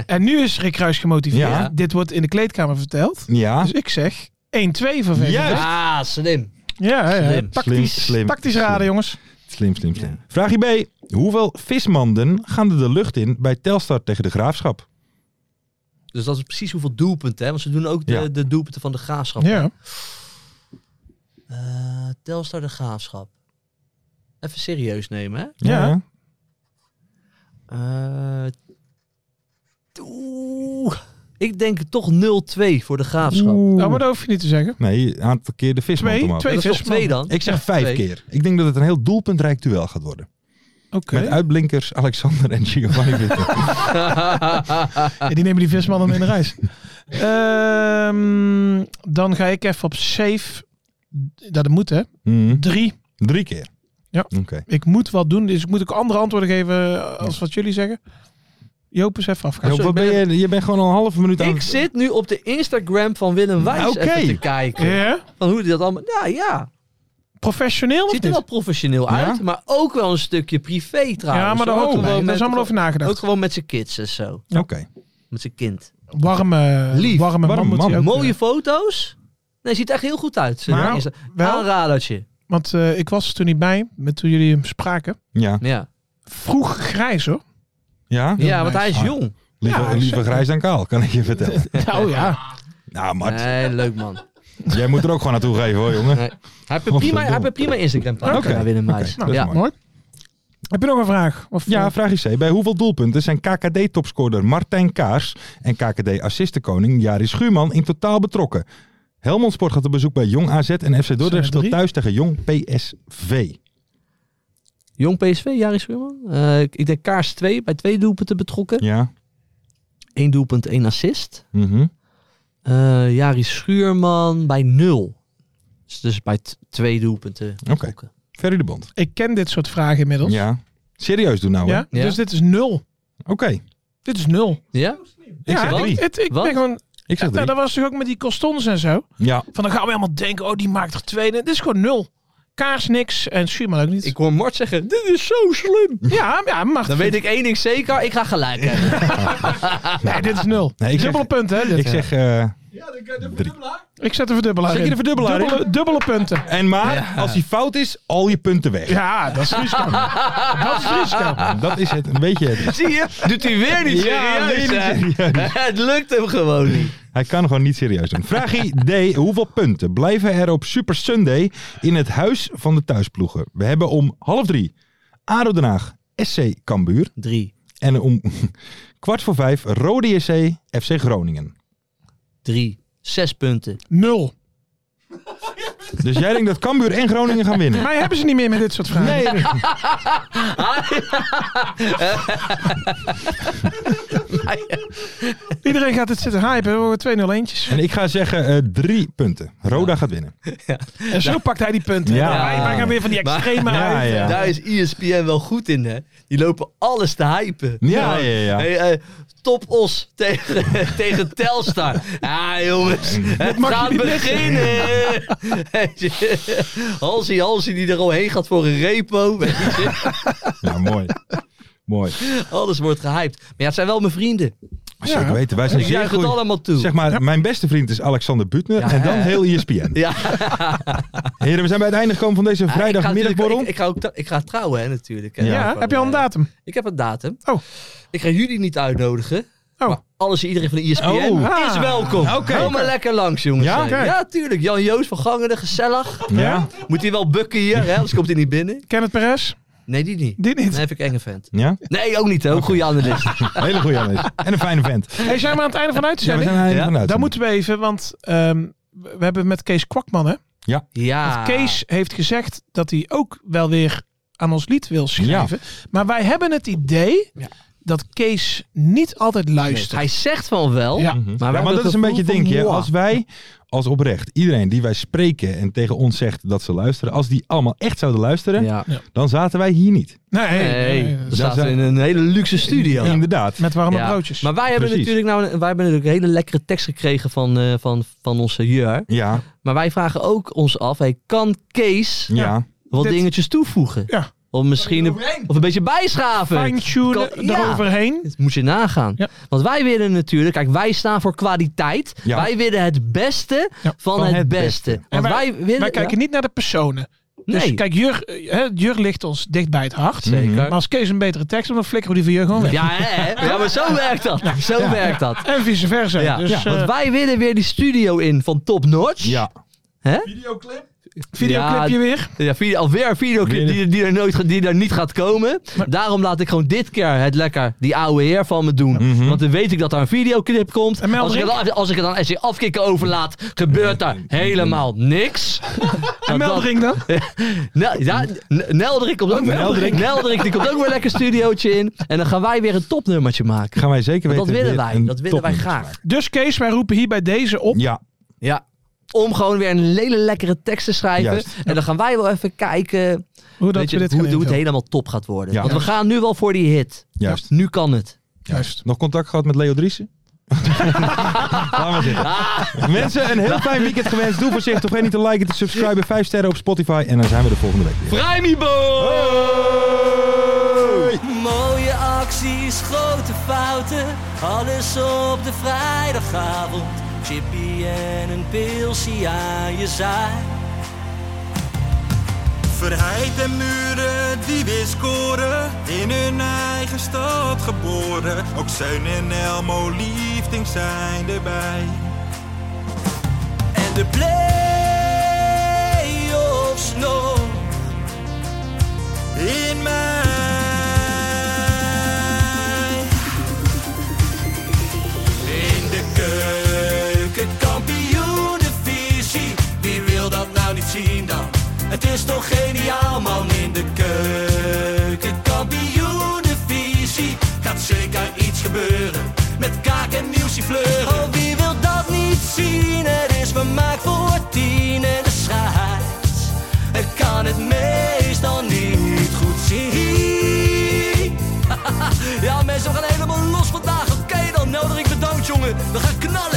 Speaker 6: En nu is Rick Kruis gemotiveerd.
Speaker 4: Ja.
Speaker 6: Dit wordt in de kleedkamer verteld.
Speaker 4: Ja.
Speaker 6: Dus ik zeg 1-2 voor VVV.
Speaker 4: Juist.
Speaker 5: Ah, slim.
Speaker 6: Ja, ja,
Speaker 5: Slim,
Speaker 6: Tactisch,
Speaker 4: slim, slim,
Speaker 6: tactisch
Speaker 4: slim.
Speaker 6: raden, jongens.
Speaker 4: Slim, slim, slim. Vraagje B. Hoeveel vismanden gaan er de lucht in bij Telstar tegen de Graafschap?
Speaker 5: Dus dat is precies hoeveel doelpunten, hè? Want ze doen ook de,
Speaker 4: Ja.
Speaker 5: de doelpunten van de graafschap.
Speaker 6: Ja. Nou,
Speaker 5: Eh, Telstar de graafschap. Even serieus nemen, hè?
Speaker 6: Ja.
Speaker 5: Eh, oeh. ik denk toch 0-2 voor de graafschap.
Speaker 6: Nou, maar dat hoef je niet te zeggen.
Speaker 4: Nee, aantal keer de vismand
Speaker 6: Twee,
Speaker 4: omhoog.
Speaker 6: twee
Speaker 5: dat is toch
Speaker 6: visman.
Speaker 5: twee dan?
Speaker 4: Ik zeg vijf
Speaker 5: Twee.
Speaker 4: keer. Ik denk dat het een heel doelpuntrijk duel gaat worden.
Speaker 6: Oké.
Speaker 4: Met uitblinkers Alexander
Speaker 5: (laughs)
Speaker 4: en Giovanni Witte.
Speaker 6: Ja, die nemen die vismannen mee in de
Speaker 4: (laughs)
Speaker 6: reis. Ehm, dan ga ik even op safe. Dat moet, hè.
Speaker 4: Mm,
Speaker 6: Drie.
Speaker 4: Drie keer.
Speaker 6: Ja.
Speaker 4: Oké.
Speaker 6: Ik moet wat doen, dus ik moet ook andere antwoorden geven eh, als wat jullie zeggen. Joop is even afgaan.
Speaker 4: Joop,
Speaker 5: sorry,
Speaker 4: wat ben
Speaker 5: ben-
Speaker 4: je, je bent gewoon al een halve minuut aan
Speaker 5: (laughs) Ik zit nu op de Instagram van Willem Wijs
Speaker 4: Nou, Oké.
Speaker 5: even te kijken.
Speaker 6: Ja?
Speaker 5: Van hoe die dat allemaal... Ja, ja.
Speaker 6: Professioneel of
Speaker 5: Ziet er
Speaker 6: niet?
Speaker 5: wel professioneel
Speaker 4: Ja?
Speaker 5: uit, maar ook wel een stukje privé trouwens.
Speaker 6: Ja, maar daar
Speaker 5: hoor.
Speaker 6: ook
Speaker 5: Ook
Speaker 6: bij. Daar is
Speaker 5: gewoon oh, met-
Speaker 6: allemaal over nagedacht.
Speaker 5: Ook gewoon met zijn kids en zo.
Speaker 4: Oké.
Speaker 5: Met zijn kind.
Speaker 6: Warme,
Speaker 5: Lief,
Speaker 6: warme man
Speaker 4: warme
Speaker 6: moet hij
Speaker 4: man.
Speaker 6: ook,
Speaker 5: Mooie
Speaker 6: eh,
Speaker 5: foto's. Nee, ziet er echt heel goed uit.
Speaker 6: Maar
Speaker 5: Is-
Speaker 6: wel-
Speaker 5: Aanradertje.
Speaker 6: Want eh, ik was er toen niet bij, met toen jullie hem spraken.
Speaker 4: Ja.
Speaker 5: Ja,
Speaker 6: Vroeg grijs hoor.
Speaker 4: Ja?
Speaker 5: ja want hij is
Speaker 4: Ah. (laughs)
Speaker 5: jong.
Speaker 4: Liever,
Speaker 6: Ja,
Speaker 4: liever grijs dan kaal, kan ik je
Speaker 5: (laughs)
Speaker 4: vertellen.
Speaker 6: Nou ja.
Speaker 4: nou, Mart,
Speaker 5: Nee, leuk man. Hij
Speaker 4: jij moet er ook gewoon naartoe geven hoor, jongen.
Speaker 5: Nee. heeft een prima, hij heeft een prima Instagram pagina
Speaker 4: Oké.
Speaker 5: Willem
Speaker 4: Oké, Nou,
Speaker 5: Muis.
Speaker 4: dat is
Speaker 5: ja.
Speaker 4: mooi.
Speaker 6: Mooi. Heb je nog een vraag? Of, eh?
Speaker 4: Ja, vraag is C. Bij hoeveel doelpunten zijn KKD-topscorer Martijn Kaars en KKD-assistenkoning Jari Schuurman in totaal betrokken? Helmond Sport gaat op bezoek bij Jong AZ en FC
Speaker 6: Zijn er
Speaker 4: Dordrecht speelt
Speaker 6: drie? Eh?
Speaker 4: thuis tegen Jong PSV.
Speaker 5: Jong PSV, Jaris Schuurman. Eh, ik denk Kaars 2, bij twee doelpunten betrokken.
Speaker 4: Ja.
Speaker 5: Eén doelpunt, één assist.
Speaker 4: Mhm.
Speaker 5: Eh Jaris Schuurman bij 0. Dus, dus bij t- twee doelpunten betrokken.
Speaker 4: Ferry de Bond.
Speaker 6: Ik ken dit soort vragen inmiddels. Ja.
Speaker 4: Ja. Serieus doen nou, hè?
Speaker 5: Ja.
Speaker 6: Dus dit is nul.
Speaker 4: Oké.
Speaker 6: Dit is nul.
Speaker 5: Ja?
Speaker 4: zeg
Speaker 6: ja,
Speaker 4: drie.
Speaker 6: ik, het, ik
Speaker 5: Wat?
Speaker 6: ben gewoon
Speaker 4: Ik zeg
Speaker 6: Nou,
Speaker 4: drie.
Speaker 6: dat was toch ook met die costons en zo.
Speaker 4: Ja,
Speaker 6: Van dan gaan we helemaal denken, oh die maakt er twee. Nee, dit is gewoon nul. Kaars niks en Schuurman ook niet.
Speaker 5: Ik hoor Mart zeggen, dit is zo slim. (laughs)
Speaker 6: ja, ja, mag.
Speaker 5: Dan weet ik één ding zeker, ik ga gelijk hebben.
Speaker 6: Nee, dit is nul.
Speaker 4: Nee, ik zeg-
Speaker 6: dubbele punten, hè? dit.
Speaker 4: ik zeg... eh,
Speaker 6: Ik zet de verdubbelaar
Speaker 4: Zet je
Speaker 6: in.
Speaker 4: de verdubbelaar in?
Speaker 6: dubbele, dubbele punten.
Speaker 4: en maar, als die fout is, al je punten weg. Dus, eh,
Speaker 6: Ja, dat is risico. dat is risico.
Speaker 4: Dat is het, een beetje het.
Speaker 5: (laughs) Zie je? Doet hij weer niet
Speaker 4: Ja,
Speaker 5: serieus,
Speaker 4: weer
Speaker 5: hè?
Speaker 4: niet
Speaker 5: (laughs) Het lukt hem gewoon niet.
Speaker 4: Hij kan gewoon niet serieus doen. Vraagie D. Hoeveel punten blijven er op Super Sunday in het huis van de thuisploegen? We hebben om half drie ADO Den Haag, SC Cambuur.
Speaker 5: Drie.
Speaker 4: En om (laughs) kwart voor vijf Rode JC, FC Groningen.
Speaker 5: Drie. Zes punten.
Speaker 6: Nul.
Speaker 4: Dus jij denkt dat Cambuur en Groningen gaan winnen?
Speaker 6: Maar hebben ze niet meer met dit soort vragen.
Speaker 4: Nee.
Speaker 6: Iedereen gaat het zitten hypen. We worden 2 0 eentjes.
Speaker 4: En ik ga zeggen eh, drie punten. Roda gaat winnen.
Speaker 6: En zo pakt hij die punten.
Speaker 4: Ja.
Speaker 6: Wij, wij gaan weer van die
Speaker 5: Maar-
Speaker 6: extreme
Speaker 4: Ja,
Speaker 6: uit.
Speaker 4: ja.
Speaker 5: Daar is E ESPN wel goed in, hè? Die lopen alles te hypen.
Speaker 4: Ja, ja, ja.
Speaker 5: Hey, eh, top Os (laughs) tegen, tegen Telstar. Ja, (laughs) jongens. Het
Speaker 6: mag
Speaker 5: gaat
Speaker 6: je niet
Speaker 5: (laughs) beginnen. Halsey, Halsey die er al heen gaat voor een repo. Weet je.
Speaker 4: Ja, mooi. mooi.
Speaker 5: Alles wordt gehyped. Maar ja, het zijn wel mijn vrienden.
Speaker 4: Zeker weten. Wij zijn
Speaker 5: Ik
Speaker 4: zeer
Speaker 5: juich het
Speaker 4: goed.
Speaker 5: allemaal toe.
Speaker 4: Zeg maar, mijn beste vriend is Alexander Butner
Speaker 5: Ja,
Speaker 4: en dan
Speaker 5: hè?
Speaker 4: heel E ESPN.
Speaker 5: ja,
Speaker 4: Heren, we zijn bij het einde gekomen van deze
Speaker 5: Ja, Ah, ik ga natuurlijk-
Speaker 4: vrijdagmiddagborrel.
Speaker 5: Ik, ik, ga ook tra- ik ga trouwen, hè, natuurlijk. hè.
Speaker 6: Ja,
Speaker 5: Gewoon,
Speaker 6: heb je al een
Speaker 5: eh,
Speaker 6: datum?
Speaker 5: Ik heb een datum.
Speaker 6: Oh.
Speaker 5: Ik ga jullie niet uitnodigen.
Speaker 6: Oh.
Speaker 5: Maar alles en iedereen van de E ESPN
Speaker 6: Oh.
Speaker 5: is welkom.
Speaker 4: Oké.
Speaker 5: Kom maar lekker langs, jongens.
Speaker 4: Ja?
Speaker 5: Hey.
Speaker 4: Kijk.
Speaker 5: ja tuurlijk. Jan Joos van Gangeren, gezellig.
Speaker 4: Ja?
Speaker 5: Moet hij wel bukken hier, hè? anders komt hij niet binnen.
Speaker 6: Kenneth Perez?
Speaker 5: Nee, die niet.
Speaker 6: Dit niet.
Speaker 5: Nee, vind ik enge vent.
Speaker 4: Ja?
Speaker 5: Nee, ook niet, hè? Ook goede analist.
Speaker 4: (laughs) Hele goede analist. En een fijne vent.
Speaker 6: Hey, zijn we aan het einde van de
Speaker 4: Ja, we
Speaker 6: uitzending?
Speaker 4: zijn er
Speaker 5: Ja,
Speaker 4: vanuit.
Speaker 6: Daar moeten we even, want ehm, we we hebben met Kees Kwakman, hè?
Speaker 5: Ja.
Speaker 6: Kees heeft gezegd dat hij ook wel weer aan ons lied wil schrijven. Maar wij hebben het idee
Speaker 5: Ja.
Speaker 6: dat Kees niet altijd
Speaker 5: Nee,
Speaker 6: luistert.
Speaker 5: hij zegt van wel.
Speaker 6: Ja.
Speaker 4: Mhm.
Speaker 5: wij
Speaker 4: Ja, maar
Speaker 5: hebben
Speaker 4: dat
Speaker 5: het
Speaker 4: is een beetje
Speaker 5: gevoel van,
Speaker 4: denk je.
Speaker 5: "Mwah."
Speaker 4: Als wij, als oprecht, iedereen die wij spreken en tegen ons zegt dat ze luisteren, als die allemaal echt zouden luisteren,
Speaker 5: Ja.
Speaker 4: dan zaten wij hier niet.
Speaker 6: Nee, nee,
Speaker 5: Nee,
Speaker 6: nee.
Speaker 5: we zaten
Speaker 4: zijn-
Speaker 5: in een hele luxe studio.
Speaker 4: Inderdaad.
Speaker 6: met warme
Speaker 5: Ja.
Speaker 6: broodjes.
Speaker 5: Maar wij hebben
Speaker 4: Precies.
Speaker 5: natuurlijk nou, een- wij hebben natuurlijk een hele lekkere tekst gekregen van, eh, van, van onze Jur.
Speaker 4: Ja,
Speaker 5: Maar wij vragen ook ons af, hey, kan Kees
Speaker 4: ja.
Speaker 5: wat
Speaker 6: Dit-
Speaker 5: dingetjes toevoegen?
Speaker 6: Ja.
Speaker 5: Of misschien een, of een beetje bijschaven.
Speaker 6: Fine-tunen
Speaker 5: Kan- ja.
Speaker 6: eroverheen.
Speaker 5: Dat moet je nagaan.
Speaker 6: Ja.
Speaker 5: Want wij willen natuurlijk, kijk, wij staan voor kwaliteit.
Speaker 4: Ja.
Speaker 5: Wij willen het beste
Speaker 6: Ja.
Speaker 5: van,
Speaker 4: Van
Speaker 5: het,
Speaker 4: het
Speaker 5: beste.
Speaker 4: beste.
Speaker 5: Want
Speaker 6: En
Speaker 5: wij, willen.
Speaker 6: Wij kijken niet naar de personen.
Speaker 5: ja,
Speaker 6: Dus Mhm.
Speaker 5: nee.
Speaker 6: kijk, Jur, eh, hè, Jur ligt ons dicht bij het hart.
Speaker 5: Zeker.
Speaker 6: Maar als Kees een betere tekst heeft, dan flikkeren we die van Jur gewoon weg.
Speaker 5: Ja, hè, hè? ja, maar zo werkt dat. Zo werkt dat.
Speaker 6: En vice versa.
Speaker 5: Ja.
Speaker 6: Dus eh,
Speaker 5: Want wij willen weer die studio in van Top Notch.
Speaker 4: Ja.
Speaker 6: videoclipje weer.
Speaker 5: Ja, video, alweer een videoclip
Speaker 4: Weer-
Speaker 5: die, die, er nooit, ge- die er niet gaat komen. Daarom laat ik gewoon dit keer het lekker, die oude heer van me doen.
Speaker 4: Mhm.
Speaker 5: Want dan weet ik dat er een videoclip komt.
Speaker 6: En Mel
Speaker 5: Als ik,
Speaker 6: Brink?
Speaker 5: het, al- als ik het aan SC Afkikken overlaat, gebeurt daar helemaal niks.
Speaker 4: (laughs)
Speaker 6: En
Speaker 5: Nou, dat-
Speaker 6: Meldering dan?
Speaker 5: Nel, ja, N- Nelderik komt
Speaker 4: Oh,
Speaker 5: ook, (laughs) Nelderik. Nelderik, die komt ook weer lekker studiootje in. En dan gaan wij weer een topnummertje maken.
Speaker 4: Gaan wij zeker
Speaker 5: Want
Speaker 4: weten.
Speaker 5: dat willen
Speaker 4: weer
Speaker 5: wij.
Speaker 4: een
Speaker 5: Dat willen wij
Speaker 4: topnummer
Speaker 5: graag.
Speaker 4: maken.
Speaker 6: Dus Kees, wij roepen hier bij deze op.
Speaker 4: Ja,
Speaker 5: Ja. Om gewoon weer een hele lekkere tekst te schrijven.
Speaker 4: Juist.
Speaker 5: En dan gaan wij wel even kijken
Speaker 6: Hoe dat
Speaker 5: weet je,
Speaker 6: we dit gaan
Speaker 5: hoe, hoe het
Speaker 6: invullen.
Speaker 5: helemaal top gaat worden.
Speaker 4: Ja.
Speaker 5: Want we gaan nu wel voor die hit.
Speaker 4: Juist.
Speaker 5: Nu kan het.
Speaker 4: juist. Nog contact gehad met Leo Driessen? (laughs) Laat maar zitten. Mensen, een heel fijn weekend gewenst. Doe voorzichtig. Vergeet niet te liken, te subscriben. Vijf sterren op Spotify. En dan zijn we de volgende week weer.
Speaker 2: Mooie acties, grote fouten, alles op de vrijdagavond. Chippy en een pilsie aan je zaai.
Speaker 3: Verheid en muren die weer scoren, in hun eigen stad geboren. Ook Zeun en Elmo liefding zijn erbij.
Speaker 2: En de play-offs nog
Speaker 3: In mij.
Speaker 2: in de keuken, kampioen divisie. Wie wil dat nou niet zien dan? Het is toch geniaal man in de keuken, kampioen divisie. Gaat zeker iets gebeuren met kaak en nieuwsie fleuren. Oh, wie wil dat niet zien? Het is vermaakt voor tien en de scheids. Ik kan het meestal niet goed zien. Ja, mensen, we gaan helemaal los vandaag. Oké dan, Nelderik bedankt, jongen. We gaan knallen.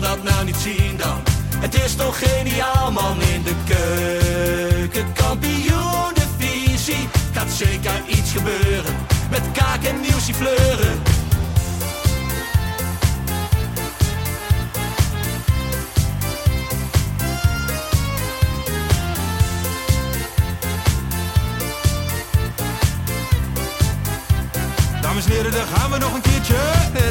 Speaker 5: dat nou niet zien dan? Het is toch geniaal man in de keuken. Kampioen de visie. Gaat zeker iets gebeuren. Met kaak en nieuwsie fleuren.
Speaker 3: Dames en heren, daar gaan we nog een keertje.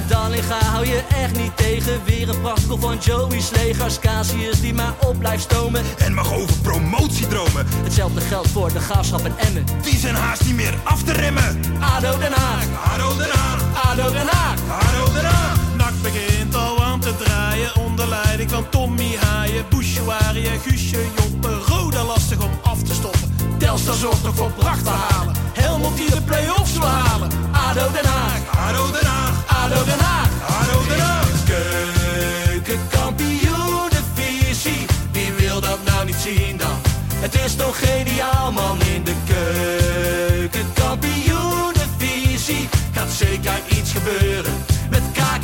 Speaker 5: Dallinga Eh, hou je echt niet tegen. Weer een prachtkel van Joey's legers. Casius die maar op blijft stomen.
Speaker 3: En mag over promotiedromen.
Speaker 5: Hetzelfde geldt voor de graafschap en Emmen.
Speaker 3: Die zijn haast niet meer af te remmen.
Speaker 5: ADO Den Haag,
Speaker 3: Haro Den Haag,
Speaker 5: ADO Den Haag.
Speaker 3: Haro Den Haag.
Speaker 5: Nak begint al aan te draaien. Onder leiding van Tommy Haaien. Bouchouari en Guusje Joppen. Roda lastig om af te stoppen. Telstar zorgt nog voor pracht te halen. Helmond die de play-offs wil halen. ADO Den Haag,
Speaker 3: Haro Den Haag,
Speaker 5: ADO Den Haag.
Speaker 3: Haro Den Haag.
Speaker 5: Keukenkampioenenvisie, wie wil dat nou niet zien dan? Het is toch geniaal man in de keukenkampioenenvisie. Gaat zeker iets gebeuren, met kaak